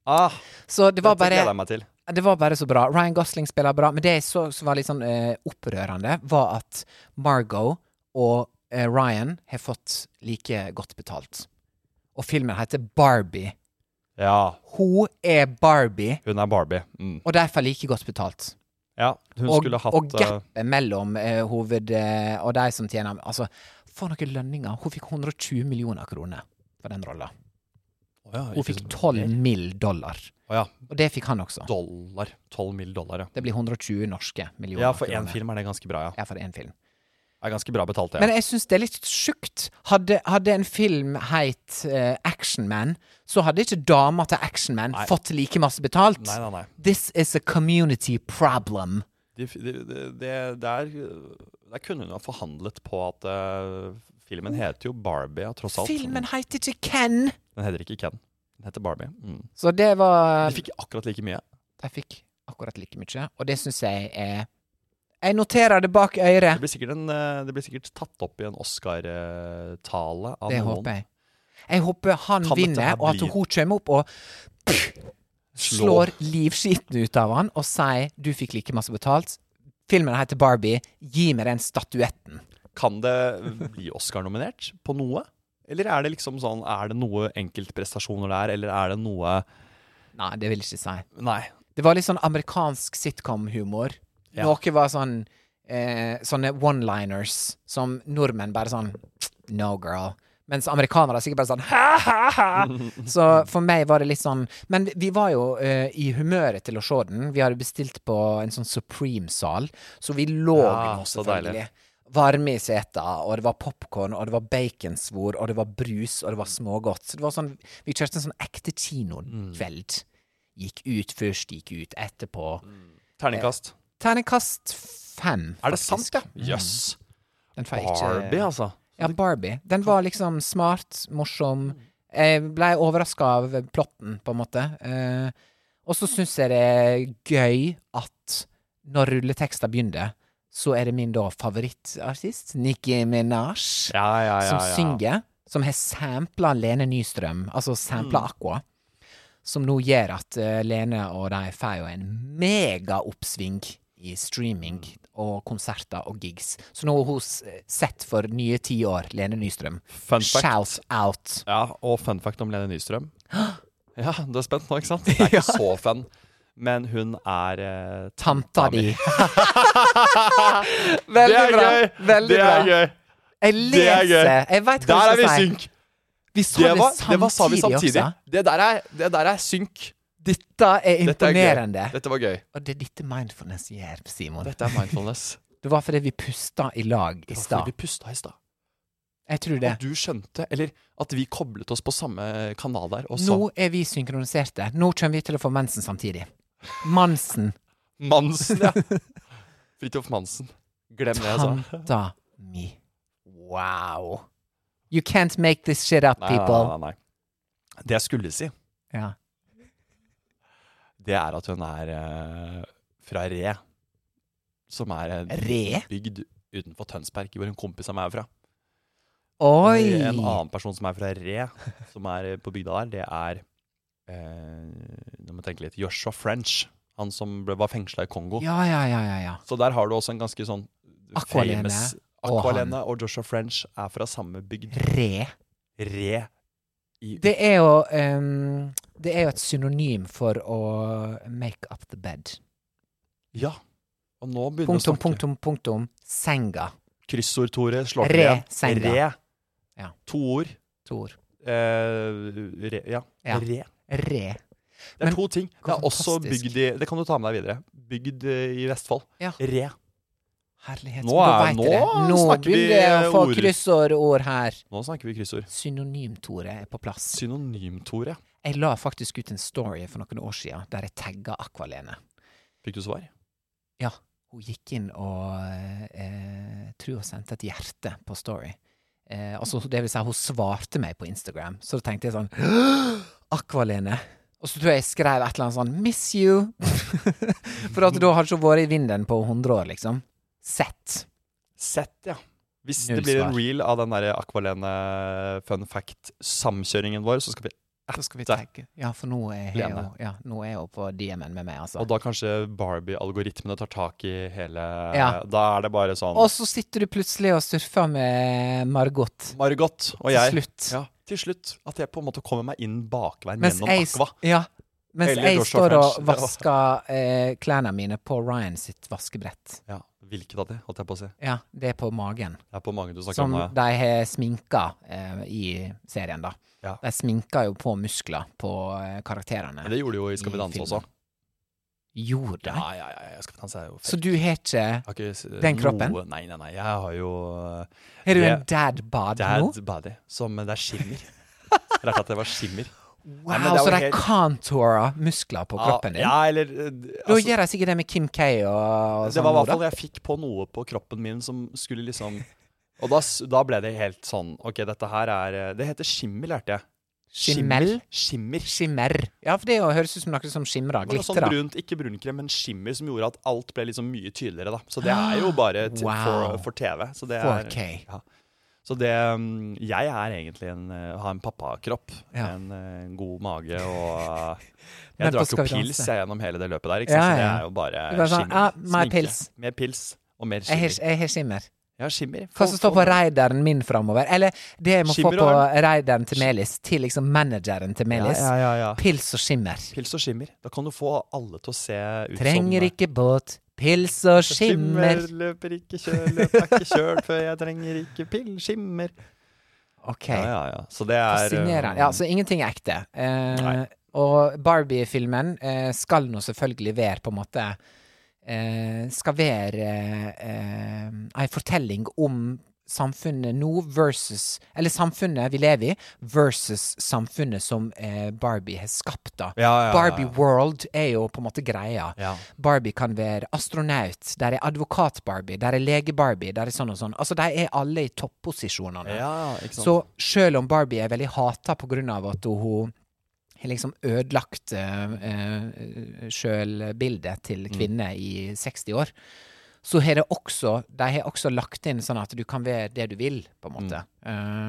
Speaker 1: Ah,
Speaker 2: Så det var
Speaker 1: dette gleder
Speaker 2: bare
Speaker 1: jeg meg til.
Speaker 2: Det var bare så bra. Ryan Gosling spiller bra, men det jeg så som var litt sånn eh, opprørende, var at Margot og eh, Ryan har fått like godt betalt. Og filmen heter Barbie.
Speaker 1: Ja,
Speaker 2: Hun er Barbie,
Speaker 1: hun er Barbie. Mm.
Speaker 2: og derfor like godt betalt.
Speaker 1: Ja, hun
Speaker 2: og
Speaker 1: skulle hatt
Speaker 2: og
Speaker 1: eh,
Speaker 2: gapet mellom eh, hoved eh, og de som tjener Altså, for noen lønninger! Hun fikk 120 millioner kroner for den rolla.
Speaker 1: å ja,
Speaker 2: Hun
Speaker 1: ikke
Speaker 2: fikk
Speaker 1: så-
Speaker 2: 12 mill. dollar.
Speaker 1: eh, Å ja,
Speaker 2: Og det fikk han også.
Speaker 1: dollar. 12 mill. dollar, ja.
Speaker 2: Det blir 120 norske millioner.
Speaker 1: Ja, for én
Speaker 2: kroner.
Speaker 1: film er det ganske bra, ja.
Speaker 2: Ja, for én film.
Speaker 1: Det er ganske bra betalt, det.
Speaker 2: Men
Speaker 1: Ja.
Speaker 2: jeg syns det er litt sjukt. Hadde, hadde en film heit eh, Action Man, så hadde ikke dama til Action Man
Speaker 1: Nei.
Speaker 2: fått like masse betalt.
Speaker 1: Nei, nei, nei.
Speaker 2: This is a community problem.
Speaker 1: De, de, de, det- der, øh, der kunne hun ha forhandlet på at øh, Filmen heter jo Barbie, ja, tross alt.
Speaker 2: Filmen heter ikke Ken!
Speaker 1: Den heter ikke Ken. Den heter Barbie. Mm.
Speaker 2: Så det var
Speaker 1: De fikk akkurat like mye.
Speaker 2: De fikk akkurat like mye, og det syns jeg er Jeg noterer det bak øret.
Speaker 1: Det blir sikkert, en, eh, det blir sikkert tatt opp i en Oscar-tale av
Speaker 2: Det
Speaker 1: noen.
Speaker 2: håper jeg. Jeg håper han
Speaker 1: Kan dette
Speaker 2: vinner,
Speaker 1: her
Speaker 2: og
Speaker 1: bli-
Speaker 2: at hun kommer opp og
Speaker 1: Slå.
Speaker 2: slår livskiten ut av han og sier 'du fikk like masse betalt'. Filmen heter Barbie. Gi meg den statuetten.
Speaker 1: Kan det bli Oscar-nominert på noe? Eller er det liksom sånn, er det noe enkeltprestasjoner der, eller er det noe
Speaker 2: Nei, det vil jeg ikke si.
Speaker 1: Nei.
Speaker 2: Det var litt sånn amerikansk sitcom-humor.
Speaker 1: Ja.
Speaker 2: Noe var sånn eh, Sånne one-liners som nordmenn bare sånn No, girl. Mens amerikanere sikkert bare sånn ha, ha, ha. Så for meg var det litt sånn Men vi var jo eh, i humøret til å se den. Vi hadde bestilt på en sånn Supreme-sal, så vi lå
Speaker 1: Ja,
Speaker 2: nå,
Speaker 1: så deilig.
Speaker 2: selvfølgelig. Varme i seta, og det var popkorn, og det var baconsvor, og det var brus, og det var smågodt. Så det var sånn Vi kjørte en sånn ekte kinokveld. Gikk ut først, gikk ut etterpå.
Speaker 1: Terningkast.
Speaker 2: Terningkast fem.
Speaker 1: Er det sant,
Speaker 2: faktisk.
Speaker 1: ja? Jøss.
Speaker 2: Den får jeg ikke
Speaker 1: Barbie, altså.
Speaker 2: Ja, Barbie. Den var liksom smart, morsom. Jeg blei overraska av plotten, på en måte. Eh, og så syns jeg det er gøy at når rulleteksta begynner, så er det min da favorittartist, Nikki Minaj,
Speaker 1: Ja, ja, ja.
Speaker 2: som
Speaker 1: ja.
Speaker 2: synger. Som har sampla Lene Nystrøm, altså sampla
Speaker 1: Mm.
Speaker 2: Aqua. Som nå gjør at eh, Lene og de får jo en megaoppsving i streaming
Speaker 1: Mm.
Speaker 2: og konserter og gigs. Så nå er hun s- eh, sett for nye tiår, Lene Nystrøm.
Speaker 1: Fun fact.
Speaker 2: Shout out.
Speaker 1: Ja, og fun fact om Lene Nystrøm. Ja, du er spent nå, ikke sant? Det er ikke så fun. Men hun er eh,
Speaker 2: Tanta di.
Speaker 1: Det
Speaker 2: Veldig
Speaker 1: er
Speaker 2: bra.
Speaker 1: gøy!
Speaker 2: Veldig
Speaker 1: det er
Speaker 2: bra.
Speaker 1: gøy!
Speaker 2: Jeg
Speaker 1: Det er gøy!
Speaker 2: leser. Jeg veit hva
Speaker 1: Der er
Speaker 2: jeg
Speaker 1: vi
Speaker 2: skal si.
Speaker 1: synk!
Speaker 2: Vi sa
Speaker 1: Det,
Speaker 2: det,
Speaker 1: var, det
Speaker 2: samtidig,
Speaker 1: var, sa vi samtidig.
Speaker 2: også.
Speaker 1: Det der er, det der er synk.
Speaker 2: Dette er
Speaker 1: Dette er
Speaker 2: imponerende.
Speaker 1: gøy. Dette var gøy.
Speaker 2: Og det er dette mindfulness gjør, Simon.
Speaker 1: Dette er mindfulness.
Speaker 2: Det var fordi vi pusta i lag i
Speaker 1: Det var fordi
Speaker 2: stad.
Speaker 1: vi pusta i stad.
Speaker 2: Jeg tror det.
Speaker 1: At du skjønte, eller at vi koblet oss på samme kanal der og sa
Speaker 2: Nå er vi synkroniserte. Nå kommer vi til å få mensen samtidig. Mansen.
Speaker 1: Mansen, ja. Fridtjof Mansen. Glem det altså. jeg sa.
Speaker 2: Tanta mi. Wow. You can't make this shit up,
Speaker 1: Nei, nei, nei, nei,
Speaker 2: people.
Speaker 1: nei. Det jeg skulle si,
Speaker 2: Ja.
Speaker 1: det er at hun er eh, fra Re. Som er en
Speaker 2: Re?
Speaker 1: bygd utenfor Tønsberg, hvor en kompis av meg er fra.
Speaker 2: Oi!
Speaker 1: En annen person som er fra Re, som er eh, på bygda der, det er eh, Nå må jeg tenke litt. Joshua French. Han som ble, var fengsla i Kongo.
Speaker 2: Ja, ja, ja, ja. ja.
Speaker 1: Så der har du også en ganske sånn
Speaker 2: Aqualene
Speaker 1: famous-
Speaker 2: og
Speaker 1: Aqualene og, Joshua French er fra samme bygd.
Speaker 2: Re.
Speaker 1: Re. I,
Speaker 2: Det er jo ehm, Det er jo et synonym for å make up the bed.
Speaker 1: Ja. Og nå begynner vi å
Speaker 2: Punktum,
Speaker 1: snakke.
Speaker 2: punktum, punktum. Senga.
Speaker 1: Kryssord, Tore. Slår til
Speaker 2: Re,
Speaker 1: igjen.
Speaker 2: senga.
Speaker 1: Re.
Speaker 2: Ja.
Speaker 1: To ord.
Speaker 2: To ord.
Speaker 1: Eh, re, ja.
Speaker 2: Ja.
Speaker 1: Re.
Speaker 2: Re.
Speaker 1: Det er
Speaker 2: Men-
Speaker 1: to ting. Det er også
Speaker 2: Fantastisk.
Speaker 1: bygd i Det kan du ta med deg videre. Bygd eh, i Vestfold.
Speaker 2: Ja.
Speaker 1: Re.
Speaker 2: Herlighet.
Speaker 1: Nå
Speaker 2: Nå,
Speaker 1: er-
Speaker 2: vet jeg det.
Speaker 1: nå
Speaker 2: nå
Speaker 1: snakker vi
Speaker 2: begynner jeg å få
Speaker 1: ord.
Speaker 2: kryssordord her.
Speaker 1: Nå snakker vi kryssord.
Speaker 2: Synonym-Tore er på plass.
Speaker 1: Synonym-Tore.
Speaker 2: Jeg la faktisk ut en story for noen år siden der jeg tagga Akvalene.
Speaker 1: Fikk du svar?
Speaker 2: Ja, hun gikk inn og eh, tror hun sendte et hjerte på story. Eh, altså, det vil si, hun svarte meg på Instagram, så da tenkte jeg sånn Akvalene. Og så tror jeg jeg skrev et eller annet sånn Miss you. for at da hadde hun ikke vært i vinden på 100 år, liksom. Sett.
Speaker 1: Sett, ja. Hvis
Speaker 2: Null
Speaker 1: det blir en
Speaker 2: svar.
Speaker 1: reel av den der Aqualene fun fact-samkjøringen vår, så skal vi
Speaker 2: Da skal vi
Speaker 1: Der.
Speaker 2: tagge. Ja, for nå er jeg jo,
Speaker 1: Lene.
Speaker 2: ja, nå er jeg jo på DM-en med meg, altså.
Speaker 1: Og da kanskje Barbie-algoritmene tar tak i hele
Speaker 2: Ja.
Speaker 1: Da er det bare sånn
Speaker 2: Og så sitter du plutselig og surfer med Margot.
Speaker 1: Margot og jeg.
Speaker 2: Til slutt.
Speaker 1: Ja, til slutt. At jeg på en måte kommer meg inn bakveien
Speaker 2: Mens
Speaker 1: gjennom
Speaker 2: jeg,
Speaker 1: Aqua.
Speaker 2: ja, mens
Speaker 1: Eller
Speaker 2: jeg
Speaker 1: Joshua
Speaker 2: står og
Speaker 1: French.
Speaker 2: vasker eh, klærne mine på Ryan sitt vaskebrett.
Speaker 1: Ja, Hvilket av det, holdt jeg på å si.
Speaker 2: Ja, det er på magen.
Speaker 1: Det er på mange du snakker
Speaker 2: Som
Speaker 1: om.
Speaker 2: de har sminka eh, i serien, da.
Speaker 1: Ja.
Speaker 2: De sminka jo på muskler på eh, karakterene.
Speaker 1: Men det gjorde de jo i Skal vi
Speaker 2: i
Speaker 1: danse
Speaker 2: filmen.
Speaker 1: også.
Speaker 2: Gjorde de?
Speaker 1: Ja, ja, ja. ja, Skal vi danse er jo
Speaker 2: Så
Speaker 1: fake.
Speaker 2: du har ikke
Speaker 1: Jeg har ikke s-
Speaker 2: Den kroppen?
Speaker 1: Noe, nei, nei, nei. Jeg har jo eh,
Speaker 2: Har du
Speaker 1: Det-
Speaker 2: en dad bod nå?
Speaker 1: dad body, som det er skimmer. Rett at det var skimmer.
Speaker 2: Wow,
Speaker 1: Nei, men det er
Speaker 2: så
Speaker 1: jo
Speaker 2: de
Speaker 1: helt- Ah,
Speaker 2: contourer muskler på kroppen din?
Speaker 1: Ja, eller eh, d-
Speaker 2: Da
Speaker 1: altså,
Speaker 2: gjør de sikkert det med Kim K og, og
Speaker 1: Det var i
Speaker 2: nå,
Speaker 1: hvert
Speaker 2: da.
Speaker 1: fall jeg fikk på noe på kroppen min som skulle liksom Og da, s- da ble det helt sånn Ok, dette her er eh, Det heter skimmel, lærte jeg.
Speaker 2: Skimmel?
Speaker 1: Skimmer.
Speaker 2: Skimmer. Ja, for det jo høres ut som noe som skimrer.
Speaker 1: Det var sånn
Speaker 2: Glitrer.
Speaker 1: brunt, ikke brunkrem, men skimmer som gjorde at alt ble liksom mye tydeligere. da. Så det er jo bare til,
Speaker 2: Ah, Wow.
Speaker 1: for, for TV. Så det er,
Speaker 2: 4K.
Speaker 1: Ja. Så det mm, Jeg er egentlig en eh, har en pappakropp.
Speaker 2: Ja.
Speaker 1: En, eh, en god mage og eh,
Speaker 2: Men på
Speaker 1: Jeg drakk
Speaker 2: Skal
Speaker 1: jo
Speaker 2: vi danse?
Speaker 1: pils jeg, gjennom hele det løpet der, ikke
Speaker 2: Ja,
Speaker 1: sant? så det
Speaker 2: ja.
Speaker 1: er jo bare
Speaker 2: Du bare sånn,
Speaker 1: skimmer.
Speaker 2: «Ah, mer
Speaker 1: sminke,
Speaker 2: pils.»
Speaker 1: Mer pils og mer
Speaker 2: Jeg har,
Speaker 1: skimmer.
Speaker 2: jeg har skimmer.
Speaker 1: Ja, skimmer.
Speaker 2: Hva som står på raideren min framover? Eller det jeg må
Speaker 1: Skimmer
Speaker 2: få
Speaker 1: og
Speaker 2: på raideren til Melis, til liksom manageren
Speaker 1: ja,
Speaker 2: til Melis.
Speaker 1: ja, ja, ja.
Speaker 2: Pils og skimmer.
Speaker 1: Pils og skimmer. Da kan du få alle til å se ut
Speaker 2: Trenger
Speaker 1: som eh,
Speaker 2: ikke båt, pils og skimmer.
Speaker 1: løper ikke kjør, løper ikke kjørt før jeg trenger ikke pill, skimmer.
Speaker 2: Ok.
Speaker 1: Ja, ja, ja. Så det er
Speaker 2: Fascinerende.
Speaker 1: um,
Speaker 2: Ja, så ingenting er ekte. Eh,
Speaker 1: Nei.
Speaker 2: og Barbie-filmen eh, skal nå selvfølgelig være på en måte eh, Skal være eh, ei fortelling om samfunnet nå versus Eller samfunnet vi lever i versus samfunnet som eh, Barbie har skapt, da.
Speaker 1: ja, ja, ja.
Speaker 2: Barbie World er jo på en måte greia.
Speaker 1: Ja.
Speaker 2: Barbie kan være astronaut, der er advokat-Barbie, der er lege-Barbie, der er sånn og sånn. Altså, de er alle i topposisjonene.
Speaker 1: ja, ikke sant.
Speaker 2: Så selv om Barbie er veldig hata på grunn av at hun har liksom ødelagt uh, sjølbildet til
Speaker 1: Mm.
Speaker 2: kvinner i 60 år, så har det også De har også lagt inn sånn at du kan være det du vil, på en måte.
Speaker 1: Mm.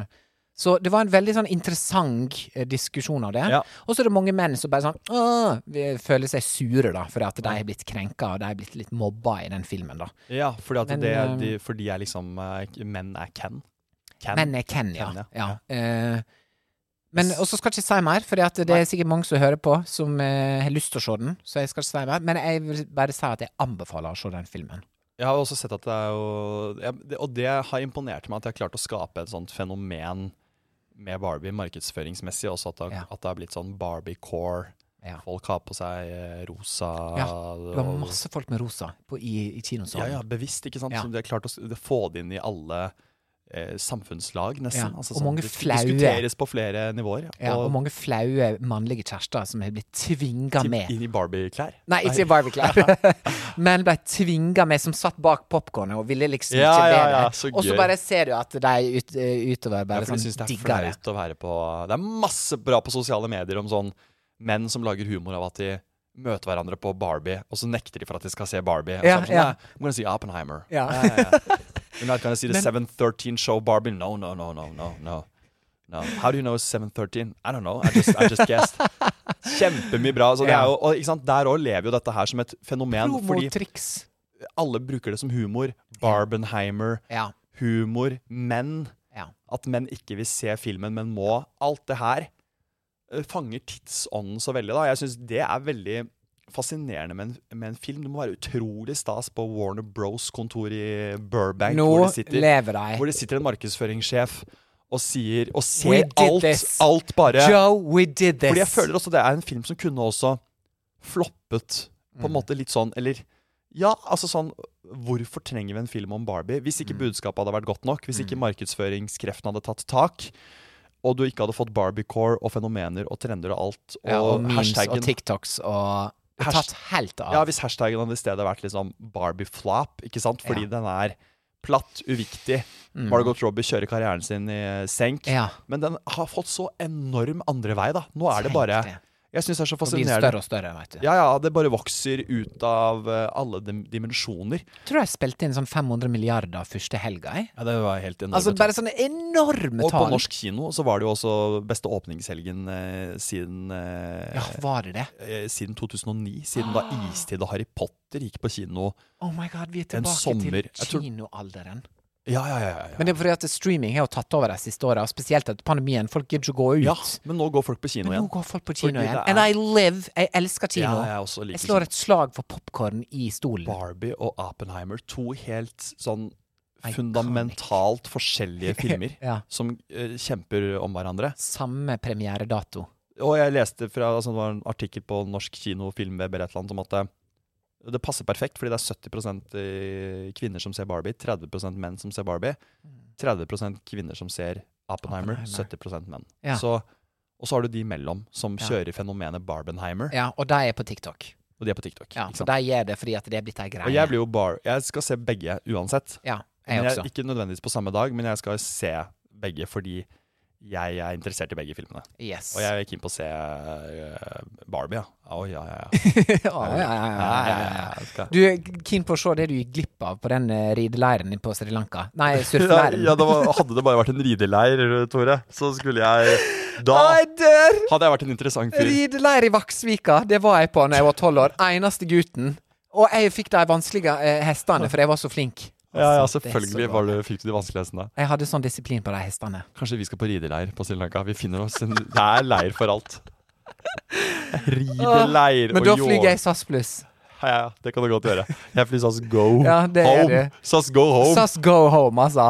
Speaker 2: Eh, så det var en veldig sånn interessant eh, diskusjon av det.
Speaker 1: Ja.
Speaker 2: Og så er det mange menn som bare sånn Åh, vi føler seg sure, da, fordi at
Speaker 1: Mm.
Speaker 2: de har blitt krenka, og de har blitt litt mobba i den filmen, da.
Speaker 1: ja, fordi at
Speaker 2: Men,
Speaker 1: det,
Speaker 2: um,
Speaker 1: de, for de er liksom eh, Menn er can. Can.
Speaker 2: Men jeg kan, ja.
Speaker 1: Ken,
Speaker 2: ja. Eh, men Og så skal jeg ikke si mer, for det er sikkert mange som hører på, som eh, har lyst til å se den. Så jeg skal ikke si mer. Men jeg vil bare si at jeg anbefaler å se den filmen.
Speaker 1: Jeg har også sett at det er jo ja, det- Og det har imponert meg at jeg har klart å skape et sånt fenomen med Barbie markedsføringsmessig også, at det,
Speaker 2: Ja.
Speaker 1: at det har blitt sånn Barbie-core.
Speaker 2: Ja.
Speaker 1: Folk har på seg eh, rosa
Speaker 2: Ja, Det var
Speaker 1: og-
Speaker 2: masse folk med rosa på, i, i
Speaker 1: Ja,
Speaker 2: kinosalen.
Speaker 1: ja, bevisst, ikke sant?
Speaker 2: Sånn. Ja.
Speaker 1: Så de har klart å s- de- få det inn i alle eh, samfunnslag, nesten.
Speaker 2: Ja,
Speaker 1: Altså,
Speaker 2: og mange
Speaker 1: det sk-
Speaker 2: flaue.
Speaker 1: Diskuteres på flere nivåer.
Speaker 2: Ja, og mange flaue mannlige kjærester som har blitt tvinga
Speaker 1: til-
Speaker 2: med.
Speaker 1: Inn i Barbie-klær.
Speaker 2: Nei, ikke i Barbie-klær. Men ble tvinga med, som satt bak popkornet og ville liksom
Speaker 1: Ja,
Speaker 2: ikke
Speaker 1: ja,
Speaker 2: være
Speaker 1: ja,
Speaker 2: der.
Speaker 1: så
Speaker 2: og så
Speaker 1: gøy.
Speaker 2: bare ser du at de ut, utover
Speaker 1: Ja,
Speaker 2: bare
Speaker 1: for de syns
Speaker 2: sånn
Speaker 1: det er
Speaker 2: digger det.
Speaker 1: flaut å være på Det er masse bra på sosiale medier om sånn menn som lager humor av at de møter hverandre på Barbie, og så nekter de for at de skal se Barbie. Og
Speaker 2: Ja,
Speaker 1: så er de sånn,
Speaker 2: ja.
Speaker 1: "Nei, I'm gonna see Oppenheimer.
Speaker 2: Ja.
Speaker 1: You're not gonna see the 713 show Barbie? No, no, no, no, no, no. No. How do you know it's 713? I don't know. I just, I just guessed. Kjempemye bra. Så det
Speaker 2: Ja.
Speaker 1: er jo, og ikke sant, der òg lever jo dette her som et fenomen, fordi
Speaker 2: Promotriks.
Speaker 1: alle bruker det som humor. Barbenheimer,
Speaker 2: Ja.
Speaker 1: humor, menn.
Speaker 2: ja.
Speaker 1: At menn ikke vil se filmen, men må. Alt det her eh, fanger tidsånden så veldig. da. Jeg syns det er veldig fascinerende med en, med en film. Det må være utrolig stas på Warner Bros. kontor i Burbank,
Speaker 2: Nå
Speaker 1: hvor det sitter,
Speaker 2: lever de.
Speaker 1: hvor det sitter en markedsføringssjef og sier og
Speaker 2: We
Speaker 1: ser
Speaker 2: did
Speaker 1: alt,
Speaker 2: this.
Speaker 1: alt bare
Speaker 2: Joe, we did this.
Speaker 1: Fordi jeg føler også det er en film som kunne også floppet på en måte litt sånn, eller ja, altså sånn Hvorfor trenger vi en film om Barbie? Hvis ikke budskapet hadde vært godt nok, hvis ikke markedsføringskreftene hadde tatt tak, og du ikke hadde fått Barbie-core og fenomener og trender og alt, og,
Speaker 2: ja, og memes
Speaker 1: hashtaggen
Speaker 2: og TikToks og det er
Speaker 1: Hasht-
Speaker 2: tatt helt av.
Speaker 1: Ja, hvis hashtaggen hadde i stedet vært liksom Barbie-flap, ikke sant? Fordi
Speaker 2: Ja. Mm.
Speaker 1: den er platt, uviktig. Margot Robbie kjører karrieren sin i eh, senk.
Speaker 2: Ja.
Speaker 1: Men den har fått så enorm andre vei, da. Nå er det
Speaker 2: Tenk
Speaker 1: bare
Speaker 2: det.
Speaker 1: Jeg syns det er så
Speaker 2: det blir
Speaker 1: fascinerende.
Speaker 2: større og større, vet du.
Speaker 1: Ja, ja, det bare vokser ut av eh, alle dim dimensjoner.
Speaker 2: Jeg tror jeg spilte inn sånn 500 milliarder første helga, jeg.
Speaker 1: Ja, det var helt enormt.
Speaker 2: Altså bare sånne enorme
Speaker 1: og på
Speaker 2: tall.
Speaker 1: norsk kino så var det jo også beste åpningshelgen eh, siden eh,
Speaker 2: Ja, Ah. var det det?
Speaker 1: eh, Siden 2009, siden da 'Istid' og 'Harry Potter' gikk på kino.
Speaker 2: Oh my god, vi er
Speaker 1: En
Speaker 2: tilbake
Speaker 1: sommer. Jeg
Speaker 2: til
Speaker 1: tror-
Speaker 2: kinoalderen.
Speaker 1: Ja, ja, ja. ja, ja.
Speaker 2: Men det er fordi at streaming har jo tatt over de siste åra, spesielt etter pandemien. Folk gidder ikke å gå ut.
Speaker 1: Ja, men nå går folk på kino
Speaker 2: Men nå
Speaker 1: igjen.
Speaker 2: går folk på kino
Speaker 1: Fordi det er-
Speaker 2: igjen. And I live! Jeg elsker kino.
Speaker 1: Ja, jeg er også like
Speaker 2: jeg slår et slag for popkorn i stolen.
Speaker 1: Barbie og Oppenheimer, to helt sånn fundamentalt forskjellige filmer
Speaker 2: Ja.
Speaker 1: som eh, kjemper om hverandre.
Speaker 2: Samme premieredato.
Speaker 1: Og jeg leste fra altså, det var en artikkel på Norsk kino, filmweb eller et eller annet, om at det, det passer perfekt, fordi det er 70 eh, kvinner som ser Barbie, 30 menn som ser Barbie, 30 kvinner som ser Oppenheimer,
Speaker 2: Oppenheimer.
Speaker 1: 70 menn.
Speaker 2: Ja.
Speaker 1: Så, og så har du de mellom som
Speaker 2: Ja.
Speaker 1: kjører fenomenet Barbenheimer,
Speaker 2: Ja, og de er på TikTok.
Speaker 1: og de er på TikTok.
Speaker 2: Ja,
Speaker 1: ikke
Speaker 2: for
Speaker 1: sant?
Speaker 2: de gjør det fordi at det er blitt ei greie.
Speaker 1: Og jeg blir jo bar Jeg skal se begge uansett.
Speaker 2: Ja. Jeg
Speaker 1: Men
Speaker 2: også.
Speaker 1: jeg, ikke nødvendigvis på samme dag, men jeg skal se begge fordi jeg er interessert i begge filmene.
Speaker 2: Yes.
Speaker 1: Og jeg er keen på å se øh, Barbie, ja. Å, ja, ja, ja.
Speaker 2: ja, ja, ja, ja, ja, ja, ja.
Speaker 1: Jeg skal-
Speaker 2: Du er keen på å se det du gikk glipp av på den eh, rideleiren på Sri Lanka. Nei,
Speaker 1: Ja,
Speaker 2: surfeleiren.
Speaker 1: ja, det var, hadde det bare vært en rideleir, Tore, så skulle jeg Da
Speaker 2: Å, jeg dør!
Speaker 1: hadde jeg vært en interessant fyr.
Speaker 2: Rideleir i Vaksvika, det var jeg på da jeg var tolv år. Eneste gutten. Og jeg fikk de vanskelige eh, hestene, for jeg var så flink.
Speaker 1: Ja, ja,
Speaker 2: Altså, det er så
Speaker 1: selvfølgelig
Speaker 2: bra.
Speaker 1: var du, fikk du de vanskelige hestene.
Speaker 2: Jeg hadde sånn disiplin på de hestene.
Speaker 1: Kanskje vi skal på rideleir på Sri Lanka. Vi finner oss en Det er leir for alt. Rideleir
Speaker 2: Men da
Speaker 1: og
Speaker 2: flyr
Speaker 1: ljå.
Speaker 2: jeg SAS pluss.
Speaker 1: Ja, ja, det kan du godt gjøre. Jeg flyr SAS Go
Speaker 2: Ja, det er
Speaker 1: Home.
Speaker 2: det.
Speaker 1: SAS Go Home.
Speaker 2: SAS go home, altså.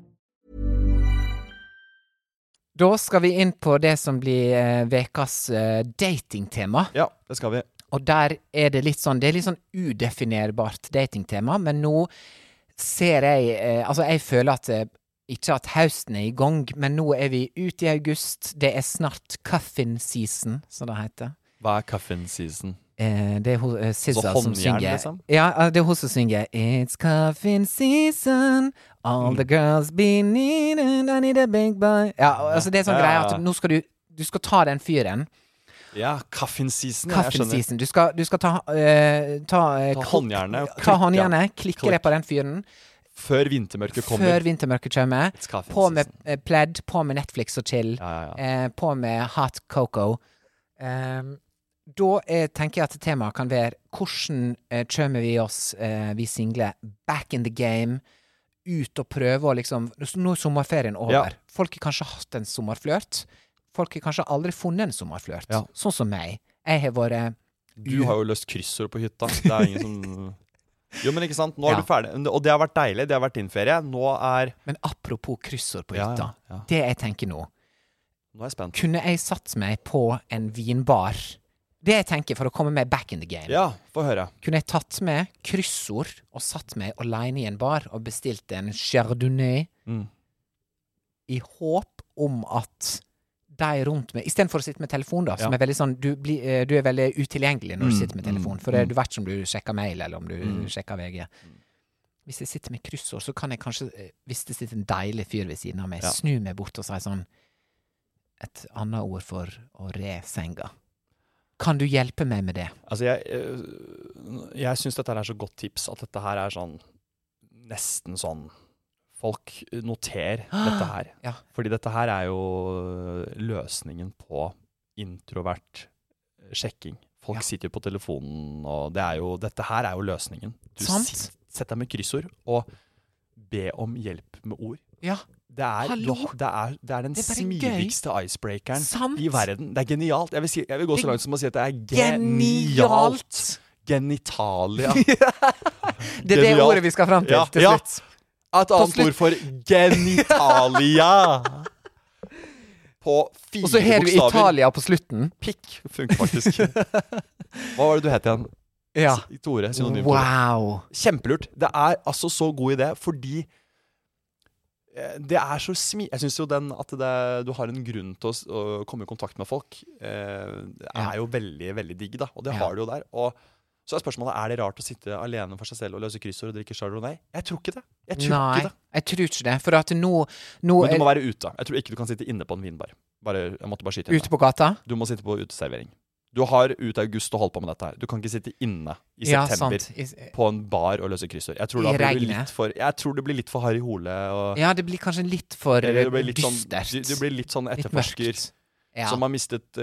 Speaker 2: Da skal vi inn på det som blir eh, vekas eh, datingtema.
Speaker 1: Ja, det skal vi.
Speaker 2: Og der er det litt sånn Det er litt sånn udefinerbart datingtema, men nå ser jeg eh, Altså, jeg føler at eh, ikke at høsten er i gang, men nå er vi ute i august. Det er snart cuffin season, som det heter.
Speaker 1: Hva er cuffin season?
Speaker 2: Eh, det er hun eh, SZA som
Speaker 1: håndjern,
Speaker 2: synger
Speaker 1: liksom?
Speaker 2: Ja, eh, det er hun som synger It's cuffin season All
Speaker 1: Mm.
Speaker 2: the girls be needed I need a big boy Ja, og- altså det er sånn
Speaker 1: Ja,
Speaker 2: greie
Speaker 1: ja,
Speaker 2: at
Speaker 1: ja.
Speaker 2: nå skal du Du skal ta den fyren
Speaker 1: Ja, cuffin season. ja, jeg
Speaker 2: Cuffin
Speaker 1: skjønner.
Speaker 2: season Du skal, du skal ta eh, Ta, eh,
Speaker 1: Ta
Speaker 2: klikk-
Speaker 1: håndjernet og
Speaker 2: Ta
Speaker 1: klikke.
Speaker 2: håndjernet Klikke
Speaker 1: Klikk.
Speaker 2: det på den fyren
Speaker 1: Før vintermørket kommer.
Speaker 2: Før vintermørket kommer
Speaker 1: It's cuffin
Speaker 2: På med
Speaker 1: season.
Speaker 2: eh, pledd På med Netflix og chill
Speaker 1: Ja, ja, ja.
Speaker 2: eh, På med hot cocoa Ehm, Da eh, tenker jeg at temaet kan være Hvordan eh, kommer vi oss eh, Vi single back in the game Ut og prøve og liksom Nå er sommerferien over
Speaker 1: Ja.
Speaker 2: Folk har kanskje hatt en sommerflørt Folk har kanskje aldri funnet en sommerflørt
Speaker 1: Ja.
Speaker 2: Sånn som meg Jeg har vært
Speaker 1: Du har jo løst kryssord på hytta. Det er ingen som Jo, men ikke sant. Nå er
Speaker 2: Ja.
Speaker 1: du ferdig. Og det har vært deilig. Det har vært din ferie. Nå er
Speaker 2: Men apropos kryssord på
Speaker 1: Ja, ja,
Speaker 2: hytta
Speaker 1: ja.
Speaker 2: Det jeg tenker nå
Speaker 1: Nå er jeg spent.
Speaker 2: Kunne jeg satt meg på en vinbar? Det jeg tenker for å komme meg back in the game.
Speaker 1: Ja, få høre.
Speaker 2: Kunne jeg tatt med kryssord og satt meg alene i en bar og bestilt en chardonnay
Speaker 1: Mm.
Speaker 2: i håp om at de rundt meg Istedenfor å sitte med telefon, da, som
Speaker 1: Ja.
Speaker 2: er veldig sånn du, blir, eh, du er veldig utilgjengelig når du
Speaker 1: Mm,
Speaker 2: sitter med telefon,
Speaker 1: mm,
Speaker 2: for det,
Speaker 1: mm.
Speaker 2: du vet ikke om du sjekker mail, eller om du
Speaker 1: Mm.
Speaker 2: sjekker VG. Hvis jeg sitter med kryssord, så kan jeg kanskje, eh, hvis det sitter en deilig fyr ved siden av meg,
Speaker 1: Ja.
Speaker 2: snu meg bort og si sånn Et annet ord for å re senga. Kan du hjelpe meg med det?
Speaker 1: Altså, jeg øh, Jeg syns dette her er så godt tips at dette her er sånn Nesten sånn Folk, noter dette her.
Speaker 2: Ja.
Speaker 1: Fordi dette her er jo løsningen på introvert eh, sjekking. Folk
Speaker 2: Ja.
Speaker 1: sitter jo på telefonen, og det er jo, dette her er jo løsningen. Du
Speaker 2: Sant.
Speaker 1: sit- Sett deg med kryssord og be om hjelp med ord.
Speaker 2: Ja.
Speaker 1: Det er,
Speaker 2: Hallo?
Speaker 1: du- det er, det er den
Speaker 2: Det er bare gøy.
Speaker 1: smidigste icebreakeren
Speaker 2: Sant.
Speaker 1: i verden. Det er genialt. Jeg vil, si, jeg vil gå
Speaker 2: Det
Speaker 1: så
Speaker 2: er
Speaker 1: langt som å si at det er genialt.
Speaker 2: Genialt!
Speaker 1: Genitalia.
Speaker 2: Det er det
Speaker 1: Genialt.
Speaker 2: ordet vi skal fram til
Speaker 1: Ja,
Speaker 2: til
Speaker 1: ja.
Speaker 2: slutt.
Speaker 1: Et annet
Speaker 2: slutt-
Speaker 1: ord for genitalia. På fire
Speaker 2: Og så har du
Speaker 1: bokstaver.
Speaker 2: Italia på slutten.
Speaker 1: Pikk funker faktisk. Hva var det du het igjen?
Speaker 2: Ja.
Speaker 1: S- Tore. Synonym Tore.
Speaker 2: Wow.
Speaker 1: Kjempelurt. Det er altså så god idé fordi eh, det er så smi... Jeg syns jo den at det, du har en grunn til å, s- å komme i kontakt med folk, eh,
Speaker 2: Ja.
Speaker 1: er jo veldig, veldig digg, da. Og det
Speaker 2: Ja.
Speaker 1: har du jo der. Og så er spørsmålet er det rart å sitte alene for seg selv og løse kryssord og drikke chardonnay. Jeg tror ikke det. Jeg tror
Speaker 2: Nei,
Speaker 1: ikke det.
Speaker 2: jeg tror ikke det. For at nå, nå
Speaker 1: Men du må
Speaker 2: er
Speaker 1: være ute. Jeg tror ikke du kan sitte inne på en vinbar. Bare, jeg måtte bare skyte inn
Speaker 2: ute
Speaker 1: det.
Speaker 2: på gata.
Speaker 1: Du må sitte på uteservering. Du har ut august å holde på med dette her. Du kan ikke sitte inne i
Speaker 2: Ja,
Speaker 1: september
Speaker 2: sant. I-
Speaker 1: på en bar og løse kryssord. Jeg tror,
Speaker 2: I
Speaker 1: da blir det
Speaker 2: regnet.
Speaker 1: litt for, jeg tror det blir litt for Harry Hole og
Speaker 2: Ja, det blir kanskje litt for
Speaker 1: Eller det blir litt sånn,
Speaker 2: dystert.
Speaker 1: du, du blir litt sånn
Speaker 2: Litt
Speaker 1: etterforsker
Speaker 2: mørkt. ja.
Speaker 1: som har mistet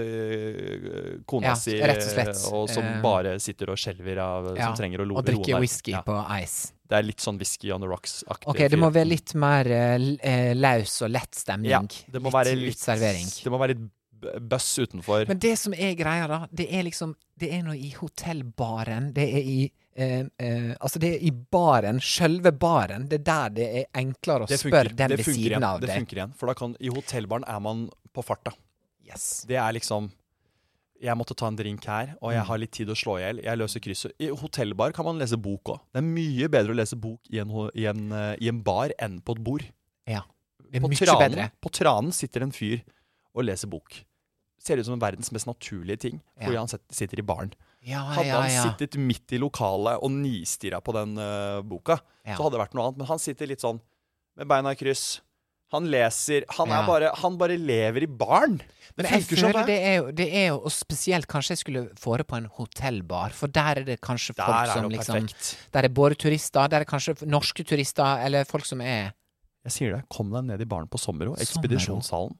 Speaker 1: eh, kona
Speaker 2: Ja,
Speaker 1: si,
Speaker 2: rett og slett.
Speaker 1: og som
Speaker 2: Eh,
Speaker 1: bare sitter og skjelver av
Speaker 2: Ja,
Speaker 1: Som trenger å lo
Speaker 2: Og
Speaker 1: roe
Speaker 2: drikke
Speaker 1: ned.
Speaker 2: whisky
Speaker 1: Ja.
Speaker 2: på ice.
Speaker 1: Det er litt sånn whisky on the rocks-aktig.
Speaker 2: Ok, det må være litt mer eh, l- eh, laus og lett stemning.
Speaker 1: ja, det må være
Speaker 2: litt servering.
Speaker 1: Det må være litt b- bøss utenfor.
Speaker 2: Men det som er greia, da, det er liksom Det er nå i hotellbaren, det er i eh, eh, altså det er i baren, sjølve baren. Det er der det er enklere å
Speaker 1: det
Speaker 2: spørre den
Speaker 1: det
Speaker 2: ved
Speaker 1: funker
Speaker 2: siden
Speaker 1: igjen.
Speaker 2: av
Speaker 1: det
Speaker 2: deg.
Speaker 1: funker igjen. For da kan, i hotellbaren er man på farta.
Speaker 2: Yes.
Speaker 1: Det er liksom Jeg måtte ta en drink her, og
Speaker 2: Mm.
Speaker 1: jeg har litt tid å slå i hjel. Jeg løser krysset. I hotellbar kan man lese bok òg. Det er mye bedre å lese bok i en, ho- i en, eh, i en bar enn på et bord.
Speaker 2: Ja. Det er
Speaker 1: på,
Speaker 2: mye
Speaker 1: tranen,
Speaker 2: bedre.
Speaker 1: på tranen sitter en fyr og leser bok. Ser ut som verdens mest naturlige ting, fordi
Speaker 2: Ja.
Speaker 1: han set- sitter i baren.
Speaker 2: Ja,
Speaker 1: Hadde
Speaker 2: ja,
Speaker 1: han
Speaker 2: ja.
Speaker 1: sittet midt i lokalet og nistirra på den eh, boka,
Speaker 2: Ja.
Speaker 1: så hadde det vært noe annet. Men han sitter litt sånn med beina i kryss. Han leser. Han,
Speaker 2: Ja.
Speaker 1: er bare, han bare lever i baren. Det
Speaker 2: Men jeg
Speaker 1: funker sånn.
Speaker 2: føler det er, jo, det er jo Og spesielt kanskje jeg skulle få det på en hotellbar, for der er det kanskje
Speaker 1: Der
Speaker 2: folk
Speaker 1: er
Speaker 2: som
Speaker 1: det jo
Speaker 2: liksom
Speaker 1: perfekt.
Speaker 2: Der er både turister, der er kanskje f- norske turister, eller folk som er
Speaker 1: Jeg sier det. Kom deg ned i baren på Sommero,
Speaker 2: Sommero.
Speaker 1: ekspedisjonssalen.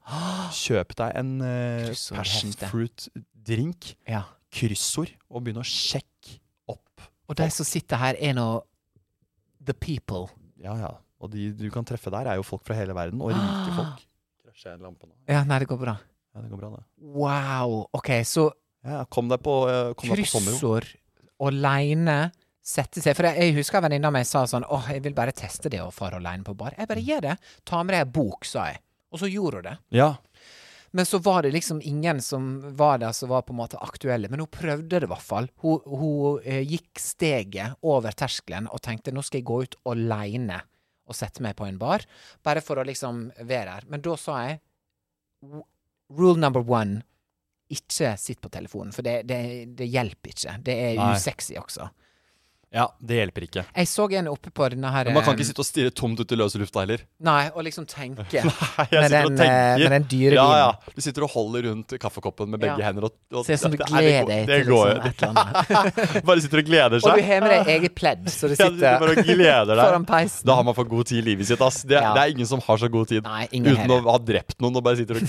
Speaker 1: Kjøp deg en eh,
Speaker 2: Kryssordhefte.
Speaker 1: passion fruit-drink,
Speaker 2: Ja.
Speaker 1: kryssord, og begynn å sjekke opp.
Speaker 2: Og de som sitter her, er nå the people.
Speaker 1: Ja, ja. Og de du kan treffe der, er jo folk fra hele verden, og rike folk. Krasjer en lampe nå?
Speaker 2: Ja, nei, det går bra.
Speaker 1: Ja, det går bra, det.
Speaker 2: Wow. OK, så
Speaker 1: Ja, kom deg på, eh, kom deg på Sommero.
Speaker 2: kryssord aleine sette seg For jeg, jeg husker en venninne av meg sa sånn Åh, jeg vil bare teste det å fare aleine på bar. Jeg bare gjør det. Ta med deg ei bok, sa jeg. Og så gjorde hun det.
Speaker 1: Ja.
Speaker 2: Men så var det liksom ingen som var der som var på en måte aktuelle. Men hun prøvde det i hvert fall. Hun, hun eh, gikk steget over terskelen og tenkte nå skal jeg gå ut aleine og sette meg på en bar. Bare for å liksom være her. Men da sa jeg "W- rule number one ikke sitt på telefonen, for det, det, det hjelper ikke. Det er
Speaker 1: Nei.
Speaker 2: usexy også.
Speaker 1: ja, det hjelper ikke.
Speaker 2: Jeg så en oppe på denne her
Speaker 1: Men man kan
Speaker 2: eh,
Speaker 1: ikke sitte og stirre tomt ut i løse lufta heller.
Speaker 2: Nei, og liksom tenke.
Speaker 1: Nei,
Speaker 2: Med
Speaker 1: jeg sitter
Speaker 2: den,
Speaker 1: og
Speaker 2: eh,
Speaker 1: tenker.
Speaker 2: med den dyre
Speaker 1: ja,
Speaker 2: vinen.
Speaker 1: ja. Du sitter og holder rundt kaffekoppen med begge
Speaker 2: Ja.
Speaker 1: hender. Og, og,
Speaker 2: Se ut som du
Speaker 1: det- det-
Speaker 2: gleder
Speaker 1: det
Speaker 2: deg
Speaker 1: går-
Speaker 2: til
Speaker 1: det
Speaker 2: liksom, et eller annet.
Speaker 1: går jo. Bare sitter og gleder seg.
Speaker 2: Og du har med deg eget pledd, så du
Speaker 1: Ja, du sitter
Speaker 2: sitter
Speaker 1: bare og gleder deg.
Speaker 2: foran peisen.
Speaker 1: Da har man for god tid i livet sitt. Ass. Det,
Speaker 2: Ja.
Speaker 1: det er ingen som har så god tid
Speaker 2: Nei, ingen
Speaker 1: uten å
Speaker 2: heller.
Speaker 1: ha drept noen. Og bare sitter og,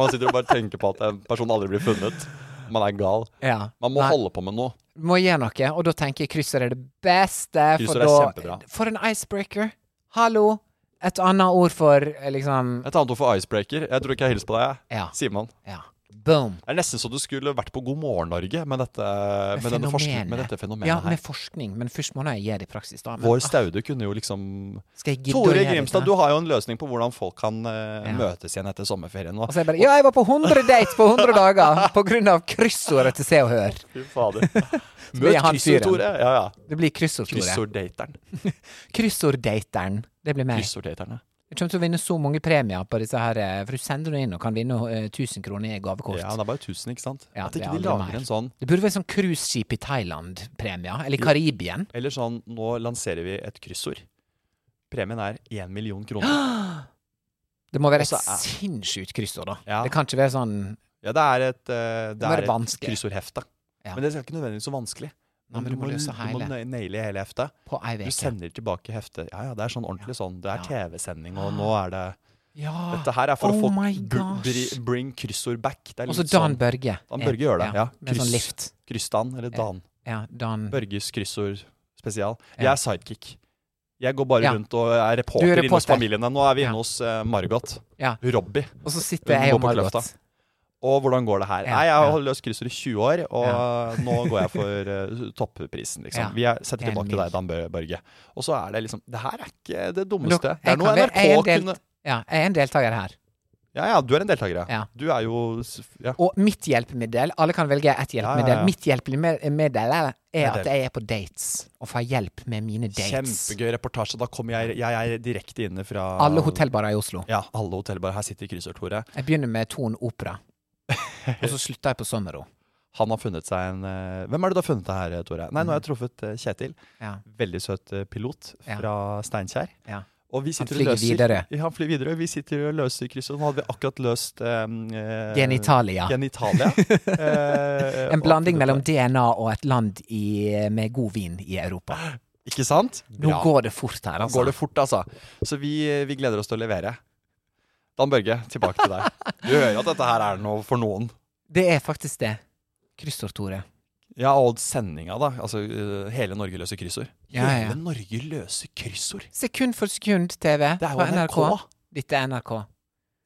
Speaker 1: man sitter og bare tenker på at en person aldri blir funnet. Man er gal.
Speaker 2: Ja.
Speaker 1: Man må
Speaker 2: Nei.
Speaker 1: holde på med noe.
Speaker 2: Må gjøre noe, og da tenker jeg krysser er det beste. For,
Speaker 1: Kryssord er
Speaker 2: da,
Speaker 1: kjempebra.
Speaker 2: for en icebreaker. Hallo. Et annet ord for eh, liksom
Speaker 1: Et annet ord for icebreaker. Jeg tror ikke jeg hilser på deg, jeg.
Speaker 2: Ja.
Speaker 1: Simon.
Speaker 2: Ja. Boom.
Speaker 1: Det er nesten så du skulle vært på God morgen Norge med dette, med denne forskning, med dette fenomenet
Speaker 2: ja,
Speaker 1: her.
Speaker 2: med forskning, men først må jeg gjøre det i praksis. da. Men,
Speaker 1: Vår
Speaker 2: ah,
Speaker 1: Staude kunne jo liksom
Speaker 2: skal jeg gidde å
Speaker 1: Tore
Speaker 2: gjøre
Speaker 1: Grimstad,
Speaker 2: dette?
Speaker 1: du har jo en løsning på hvordan folk kan eh,
Speaker 2: Ja. Altså,
Speaker 1: møtes igjen etter sommerferien. nå.
Speaker 2: Og så er jeg bare Ja, jeg var på 100 dates på 100 dager på grunn av kryssordet til Se og Hør.
Speaker 1: Fy fader.
Speaker 2: blir
Speaker 1: Møt
Speaker 2: han fyren.
Speaker 1: kryssord, Tore. Ja, ja.
Speaker 2: Det blir kryssord, Tore.
Speaker 1: Kryssorddateren.
Speaker 2: Kryssorddateren. Det blir meg.
Speaker 1: Kryssorddateren, ja.
Speaker 2: Du kommer til å vinne så mange premier på disse her, eh, for du sender det inn og kan vinne eh, 1000 kroner i gavekort.
Speaker 1: Ja, det er bare 1000, ikke sant?
Speaker 2: Ja,
Speaker 1: At
Speaker 2: det er
Speaker 1: ikke de
Speaker 2: aldri
Speaker 1: lager
Speaker 2: mer.
Speaker 1: en sånn
Speaker 2: Det burde være sånn cruiseskip i Thailand-premie, eller i Karibien.
Speaker 1: Eller sånn, nå lanserer vi et kryssord. Premien er 1 million kroner.
Speaker 2: Det må være
Speaker 1: Og
Speaker 2: et
Speaker 1: så er-
Speaker 2: sinnssykt kryssord, da.
Speaker 1: Ja.
Speaker 2: Det kan ikke være sånn
Speaker 1: Ja, det er et, eh, det
Speaker 2: må være
Speaker 1: er et
Speaker 2: vanskelig.
Speaker 1: kryssordhefte.
Speaker 2: Ja.
Speaker 1: Men det skal ikke nødvendigvis så vanskelig.
Speaker 2: Nei, men du må løse
Speaker 1: Du må
Speaker 2: hele.
Speaker 1: nø- naile hele heftet.
Speaker 2: på ei
Speaker 1: Du
Speaker 2: uke.
Speaker 1: sender tilbake heftet. Ja, ja, det er sånn ordentlig sånn. Det er
Speaker 2: Ja.
Speaker 1: TV-sending, og nå er det
Speaker 2: Ja.
Speaker 1: Dette her er for
Speaker 2: Oh
Speaker 1: å få
Speaker 2: my
Speaker 1: br-
Speaker 2: gosh.
Speaker 1: bri- bring kryssord back. Det er
Speaker 2: Og så
Speaker 1: litt
Speaker 2: Dan
Speaker 1: sånn-
Speaker 2: Børge.
Speaker 1: Dan Børge gjør det, ja.
Speaker 2: Med sånn
Speaker 1: Kryss.
Speaker 2: lift.
Speaker 1: Kryssdan, eller Dan.
Speaker 2: Ja, Dan
Speaker 1: Børges kryssord spesial.
Speaker 2: Mm. Ja.
Speaker 1: Jeg er sidekick. Jeg går bare
Speaker 2: Ja.
Speaker 1: rundt og er reporter,
Speaker 2: Du er
Speaker 1: inne hos
Speaker 2: reporter.
Speaker 1: familiene. Nå er vi
Speaker 2: Ja.
Speaker 1: inne hos eh, Margot.
Speaker 2: Ja.
Speaker 1: Robbie.
Speaker 2: Og
Speaker 1: Hun
Speaker 2: så sitter jeg og
Speaker 1: går på
Speaker 2: Margot.
Speaker 1: Kløfta. Og hvordan går det her?
Speaker 2: Ja,
Speaker 1: Nei, Jeg
Speaker 2: ja.
Speaker 1: har løst kryssord i 20 år, og nå går jeg for eh, topprisen, liksom.
Speaker 2: Ja.
Speaker 1: Vi er, setter
Speaker 2: Det er
Speaker 1: tilbake til
Speaker 2: mildt.
Speaker 1: deg, Dan Bø- Børge. Og så er det liksom Det her er ikke det
Speaker 2: Men dere-
Speaker 1: dummeste. Det
Speaker 2: jeg
Speaker 1: er noe
Speaker 2: kan være-
Speaker 1: NRK
Speaker 2: jeg er en del-
Speaker 1: kunne
Speaker 2: Ja, jeg er en deltaker her.
Speaker 1: Ja ja, du er en deltaker, ja.
Speaker 2: Ja.
Speaker 1: Du er jo s- ja.
Speaker 2: Og mitt hjelpemiddel Alle kan velge ett
Speaker 1: Ja,
Speaker 2: hjelpemiddel.
Speaker 1: ja, ja.
Speaker 2: Mitt hjelpemiddel er er
Speaker 1: Middel.
Speaker 2: at jeg er på dates og får hjelp med mine dates.
Speaker 1: Kjempegøy reportasje. Da kommer jeg Jeg er direkte inne fra
Speaker 2: Alle hotellbarer i Oslo.
Speaker 1: Ja, alle hotellbar. Her sitter kryssordhoret.
Speaker 2: Jeg begynner med Ton opera, og så slutter jeg på Sommero.
Speaker 1: Han har funnet seg en eh, Hvem er det du har funnet deg her, Tore? Nei, nå har jeg truffet eh, Kjetil.
Speaker 2: Ja,
Speaker 1: Veldig søt eh, pilot
Speaker 2: Mhm. Ja.
Speaker 1: fra Steinkjer.
Speaker 2: ja.
Speaker 1: Og vi sitter og
Speaker 2: flyger
Speaker 1: løser,
Speaker 2: videre.
Speaker 1: Ja, han flyr videre. og Vi sitter og løser krysset. Nå hadde vi akkurat løst em, eh,
Speaker 2: Genitalia.
Speaker 1: Genitalia. Eh,
Speaker 2: En
Speaker 1: og-
Speaker 2: blanding mellom DNA og et land i, med god vin i Europa.
Speaker 1: Ikke sant?
Speaker 2: Nå
Speaker 1: Bra.
Speaker 2: går det fort her,
Speaker 1: Nå
Speaker 2: altså.
Speaker 1: går det fort, altså. Så vi, vi gleder oss til å levere. Dan Børge, tilbake til deg. Du hører jo at dette her er noe for noen.
Speaker 2: Det er faktisk det. Kryssord, Tore.
Speaker 1: Ja, og sendinga, da. Altså eh, hele Norge løser kryssord.
Speaker 2: Ja, ja.
Speaker 1: Hele Norge løser kryssord!
Speaker 2: Sekund for sekund-TV
Speaker 1: Det er
Speaker 2: på
Speaker 1: jo
Speaker 2: NRK.
Speaker 1: NRK.
Speaker 2: Dette er NRK.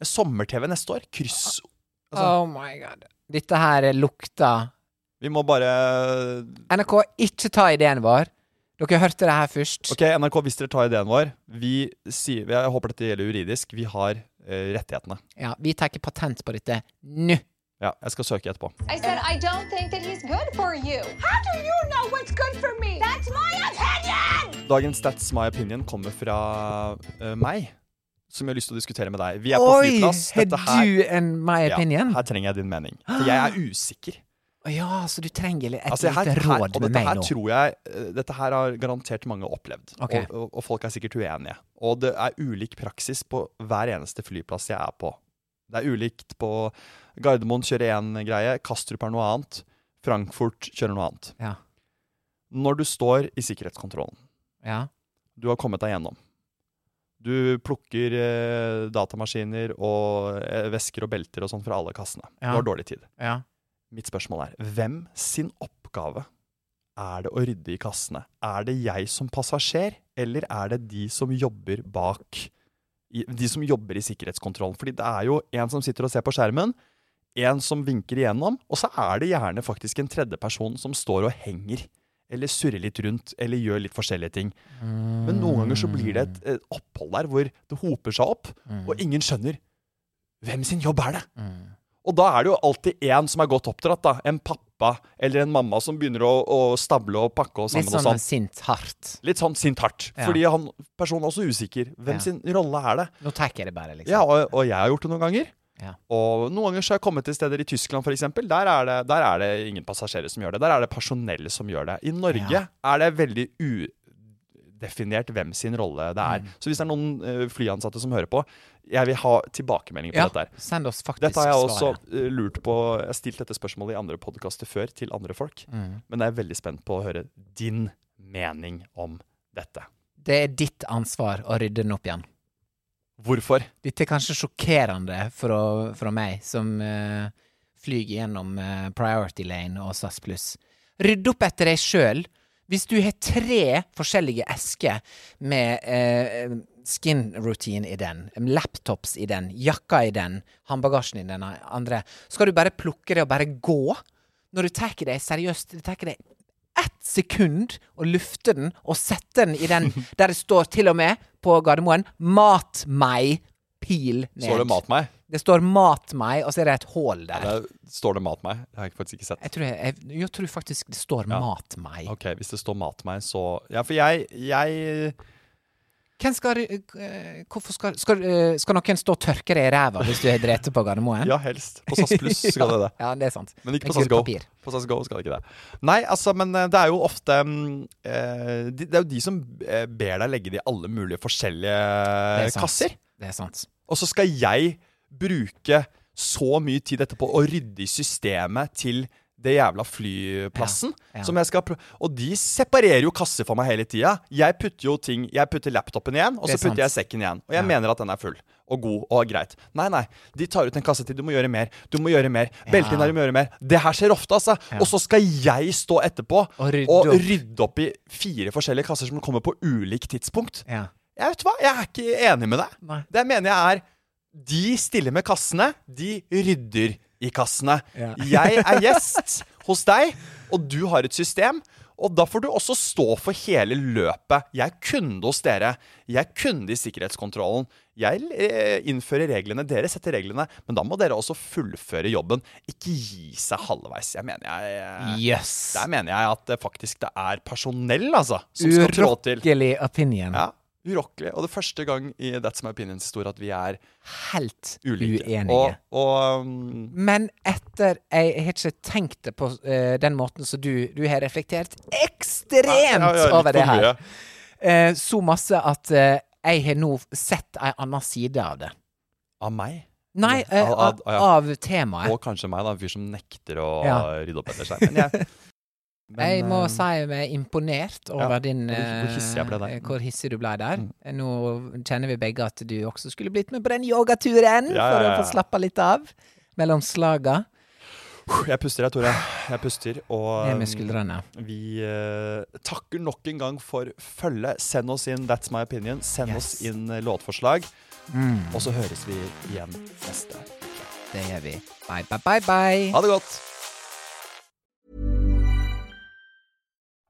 Speaker 1: Sommer-TV neste år. Kryss... Altså,
Speaker 2: Oh my god. Dette her lukter
Speaker 1: Vi må bare
Speaker 2: NRK, ikke ta ideen vår. Dere hørte det her først.
Speaker 1: Ok, NRK, hvis dere tar ideen vår Vi sier Jeg håper dette gjelder juridisk. Vi har eh, rettighetene.
Speaker 2: Ja, vi tar ikke patent på dette nå.
Speaker 1: Ja, jeg skal søke etterpå.
Speaker 3: I said, I don't think that he's good for you. How do you know what's good for me? That's my opinion!
Speaker 1: Dagens That's My Opinion kommer fra eh, meg, som jeg har lyst til å diskutere med deg. Vi er på
Speaker 2: Oi,
Speaker 1: flyplass.
Speaker 2: har
Speaker 1: Dette her
Speaker 2: du en my opinion?
Speaker 1: Ja, her trenger jeg din mening. For jeg er usikker.
Speaker 2: Å ja, så du trenger litt- et
Speaker 1: Altså, her,
Speaker 2: lite
Speaker 1: her,
Speaker 2: råd
Speaker 1: og dette
Speaker 2: med meg
Speaker 1: her
Speaker 2: nå?
Speaker 1: tror jeg eh, Dette her har garantert mange opplevd.
Speaker 2: Ok.
Speaker 1: Og, og, og folk er sikkert uenige. Og det er ulik praksis på hver eneste flyplass jeg er på. Det er ulikt på Gardermoen kjører én greie, Kastrup er noe annet, Frankfurt kjører noe annet.
Speaker 2: Ja.
Speaker 1: Når du står i sikkerhetskontrollen,
Speaker 2: ja.
Speaker 1: du har kommet deg gjennom. Du plukker eh, datamaskiner og eh, vesker og belter og sånn fra alle kassene.
Speaker 2: Ja.
Speaker 1: Du har dårlig tid.
Speaker 2: ja.
Speaker 1: Mitt spørsmål er, hvem sin oppgave er det å rydde i kassene? Er det jeg som passasjer, eller er det de som jobber bak? i- De som jobber i sikkerhetskontrollen. Fordi det er jo en som sitter og ser på skjermen, en som vinker igjennom, og så er det gjerne faktisk en tredjeperson som står og henger. Eller surrer litt rundt, eller gjør litt forskjellige ting. Men noen ganger så blir det et, et opphold der hvor det hoper seg opp,
Speaker 2: Mm.
Speaker 1: og ingen skjønner hvem sin jobb er det? Og da er det jo alltid én som er godt oppdratt, da. En pappa eller en mamma som begynner å, å stable og pakke og sammen
Speaker 2: Litt sånn
Speaker 1: og sånn.
Speaker 2: sint hardt.
Speaker 1: Litt sånn sint hardt.
Speaker 2: Ja.
Speaker 1: Fordi han personen er også usikker. Hvem
Speaker 2: Ja.
Speaker 1: sin rolle er det?
Speaker 2: Nå tar jeg det bare, liksom.
Speaker 1: Ja, og, og jeg har gjort det noen ganger.
Speaker 2: Ja.
Speaker 1: Og noen ganger så har jeg kommet til steder i Tyskland f.eks. Der, er det- der er det ingen passasjerer som gjør det. Der er det personell som gjør det. I Norge
Speaker 2: Ja.
Speaker 1: er det veldig udefinert hvem sin rolle det er.
Speaker 2: Mm.
Speaker 1: Så hvis det er noen eh, flyansatte som hører på, jeg vil ha tilbakemelding på
Speaker 2: Ja,
Speaker 1: dette her.
Speaker 2: Send oss faktisk
Speaker 1: Dette har jeg også
Speaker 2: svaret.
Speaker 1: eh, lurt på Jeg har stilt dette spørsmålet i andre podkaster før til andre folk,
Speaker 2: Mm.
Speaker 1: men jeg er veldig spent på å høre din mening om dette.
Speaker 2: Det er ditt ansvar å rydde den opp igjen.
Speaker 1: Hvorfor?
Speaker 2: Dette er kanskje sjokkerende for, å, for meg, som eh, flyger gjennom eh, Priority Lane og SAS Pluss. Rydd opp etter deg sjøl. Hvis du har tre forskjellige esker med eh, skin routine i den, laptops i den, jakka i den, håndbagasjen i den andre, skal du bare plukke det og bare gå? Når du tar deg seriøst, det tar deg ett sekund å lufte den og sette den i den der det står til og med på Gardermoen 'Mat meg', pil ned.
Speaker 1: Står det 'mat meg'?
Speaker 2: Det står 'mat meg', og så er det et hull der.
Speaker 1: Det, er- står det 'mat meg'? Det har jeg faktisk ikke sett.
Speaker 2: Jeg tror, jeg, jeg, jeg tror faktisk det står
Speaker 1: Ja.
Speaker 2: 'mat meg'.
Speaker 1: Ok, Hvis det står 'mat meg', så Ja, for jeg, jeg
Speaker 2: Hvem skal, eh, hvorfor skal, skal, eh, skal noen stå og tørke deg i ræva hvis du har drept på Gardermoen?
Speaker 1: Ja, helst. På SAS Pluss skal det det.
Speaker 2: Ja, det er sant.
Speaker 1: Men ikke
Speaker 2: Med
Speaker 1: på SAS Go.
Speaker 2: gullpapir.
Speaker 1: På SAS Go skal det ikke det. Nei, altså, men eh, det er jo ofte mm, eh, de- Det er jo de som eh, ber deg legge det i alle mulige
Speaker 2: Det er
Speaker 1: forskjellige
Speaker 2: sant.
Speaker 1: Eh, kasser.
Speaker 2: Det er sant.
Speaker 1: Og så skal jeg bruke så mye tid etterpå å rydde i systemet til det jævla flyplassen.
Speaker 2: Ja, ja.
Speaker 1: Som jeg skal prø og de separerer jo kasser for meg hele tida. Jeg putter jo ting Jeg putter laptopen igjen, og
Speaker 2: Det
Speaker 1: så
Speaker 2: er sant.
Speaker 1: putter jeg sekken igjen. Og jeg
Speaker 2: Ja.
Speaker 1: mener at den er full og god og greit. Nei, nei. De tar ut en kasse til. Du må gjøre mer. Du må gjøre mer. Beltet der, du må gjøre mer. Det her skjer ofte, altså. Og så skal jeg stå etterpå
Speaker 2: Og rydde
Speaker 1: og
Speaker 2: opp.
Speaker 1: rydde opp i fire forskjellige kasser som kommer på ulikt tidspunkt.
Speaker 2: Ja.
Speaker 1: Jeg vet hva, jeg er ikke enig med deg.
Speaker 2: Nei.
Speaker 1: Det jeg mener jeg er De stiller med kassene, de rydder i kassene.
Speaker 2: Ja.
Speaker 1: Jeg er gjest hos deg, og du har et system. Og da får du også stå for hele løpet. Jeg er kunde hos dere. Jeg er kunde i sikkerhetskontrollen. Jeg eh, innfører reglene, dere setter reglene. Men da må dere også fullføre jobben. Ikke gi seg halvveis. Jeg mener jeg eh,
Speaker 2: Jøss.
Speaker 1: Der mener jeg at det faktisk det er personell, altså, som skal trå til.
Speaker 2: Urokkelig opinion.
Speaker 1: Ja, urokkelig. Og det er første gang i That's My Opinions historie at vi er
Speaker 2: Helt
Speaker 1: ulike.
Speaker 2: uenige.
Speaker 1: Og, og um,
Speaker 2: Men etter Jeg har ikke tenkt det på eh, den måten som du, du har reflektert ekstremt
Speaker 1: ja, ja, litt
Speaker 2: over det
Speaker 1: for
Speaker 2: her.
Speaker 1: mye.
Speaker 2: Eh, så masse at eh, Jeg har nå sett ei anna side av det.
Speaker 1: Av meg?
Speaker 2: Nei,
Speaker 1: Eller-
Speaker 2: eh,
Speaker 1: av- av-
Speaker 2: av,
Speaker 1: ja.
Speaker 2: av temaet.
Speaker 1: Og kanskje meg, da. En fyr som nekter å
Speaker 2: Ja.
Speaker 1: rydde opp etter seg. Men jeg, men,
Speaker 2: jeg må
Speaker 1: eh,
Speaker 2: si meg imponert over
Speaker 1: ja,
Speaker 2: din
Speaker 1: hvor- hvor hissig jeg ble der. Mm.
Speaker 2: eh, hvor hissig du ble der. Nå kjenner vi begge at du også skulle blitt med på den yogaturen
Speaker 1: Ja,
Speaker 2: for å
Speaker 1: ja, ja.
Speaker 2: få slappa litt av mellom slaga.
Speaker 1: Jeg puster, jeg, Tore. Jeg puster. Og
Speaker 2: Ned med
Speaker 1: eh,
Speaker 2: skuldrene.
Speaker 1: vi eh, takker nok en gang for følget. Send oss inn That's My Opinion. Send oss
Speaker 2: Yes. Mm.
Speaker 1: inn eh, låtforslag. Og så høres vi igjen neste.
Speaker 2: Det gjør vi. Bye, bye, bye, bye.
Speaker 1: Ha det godt!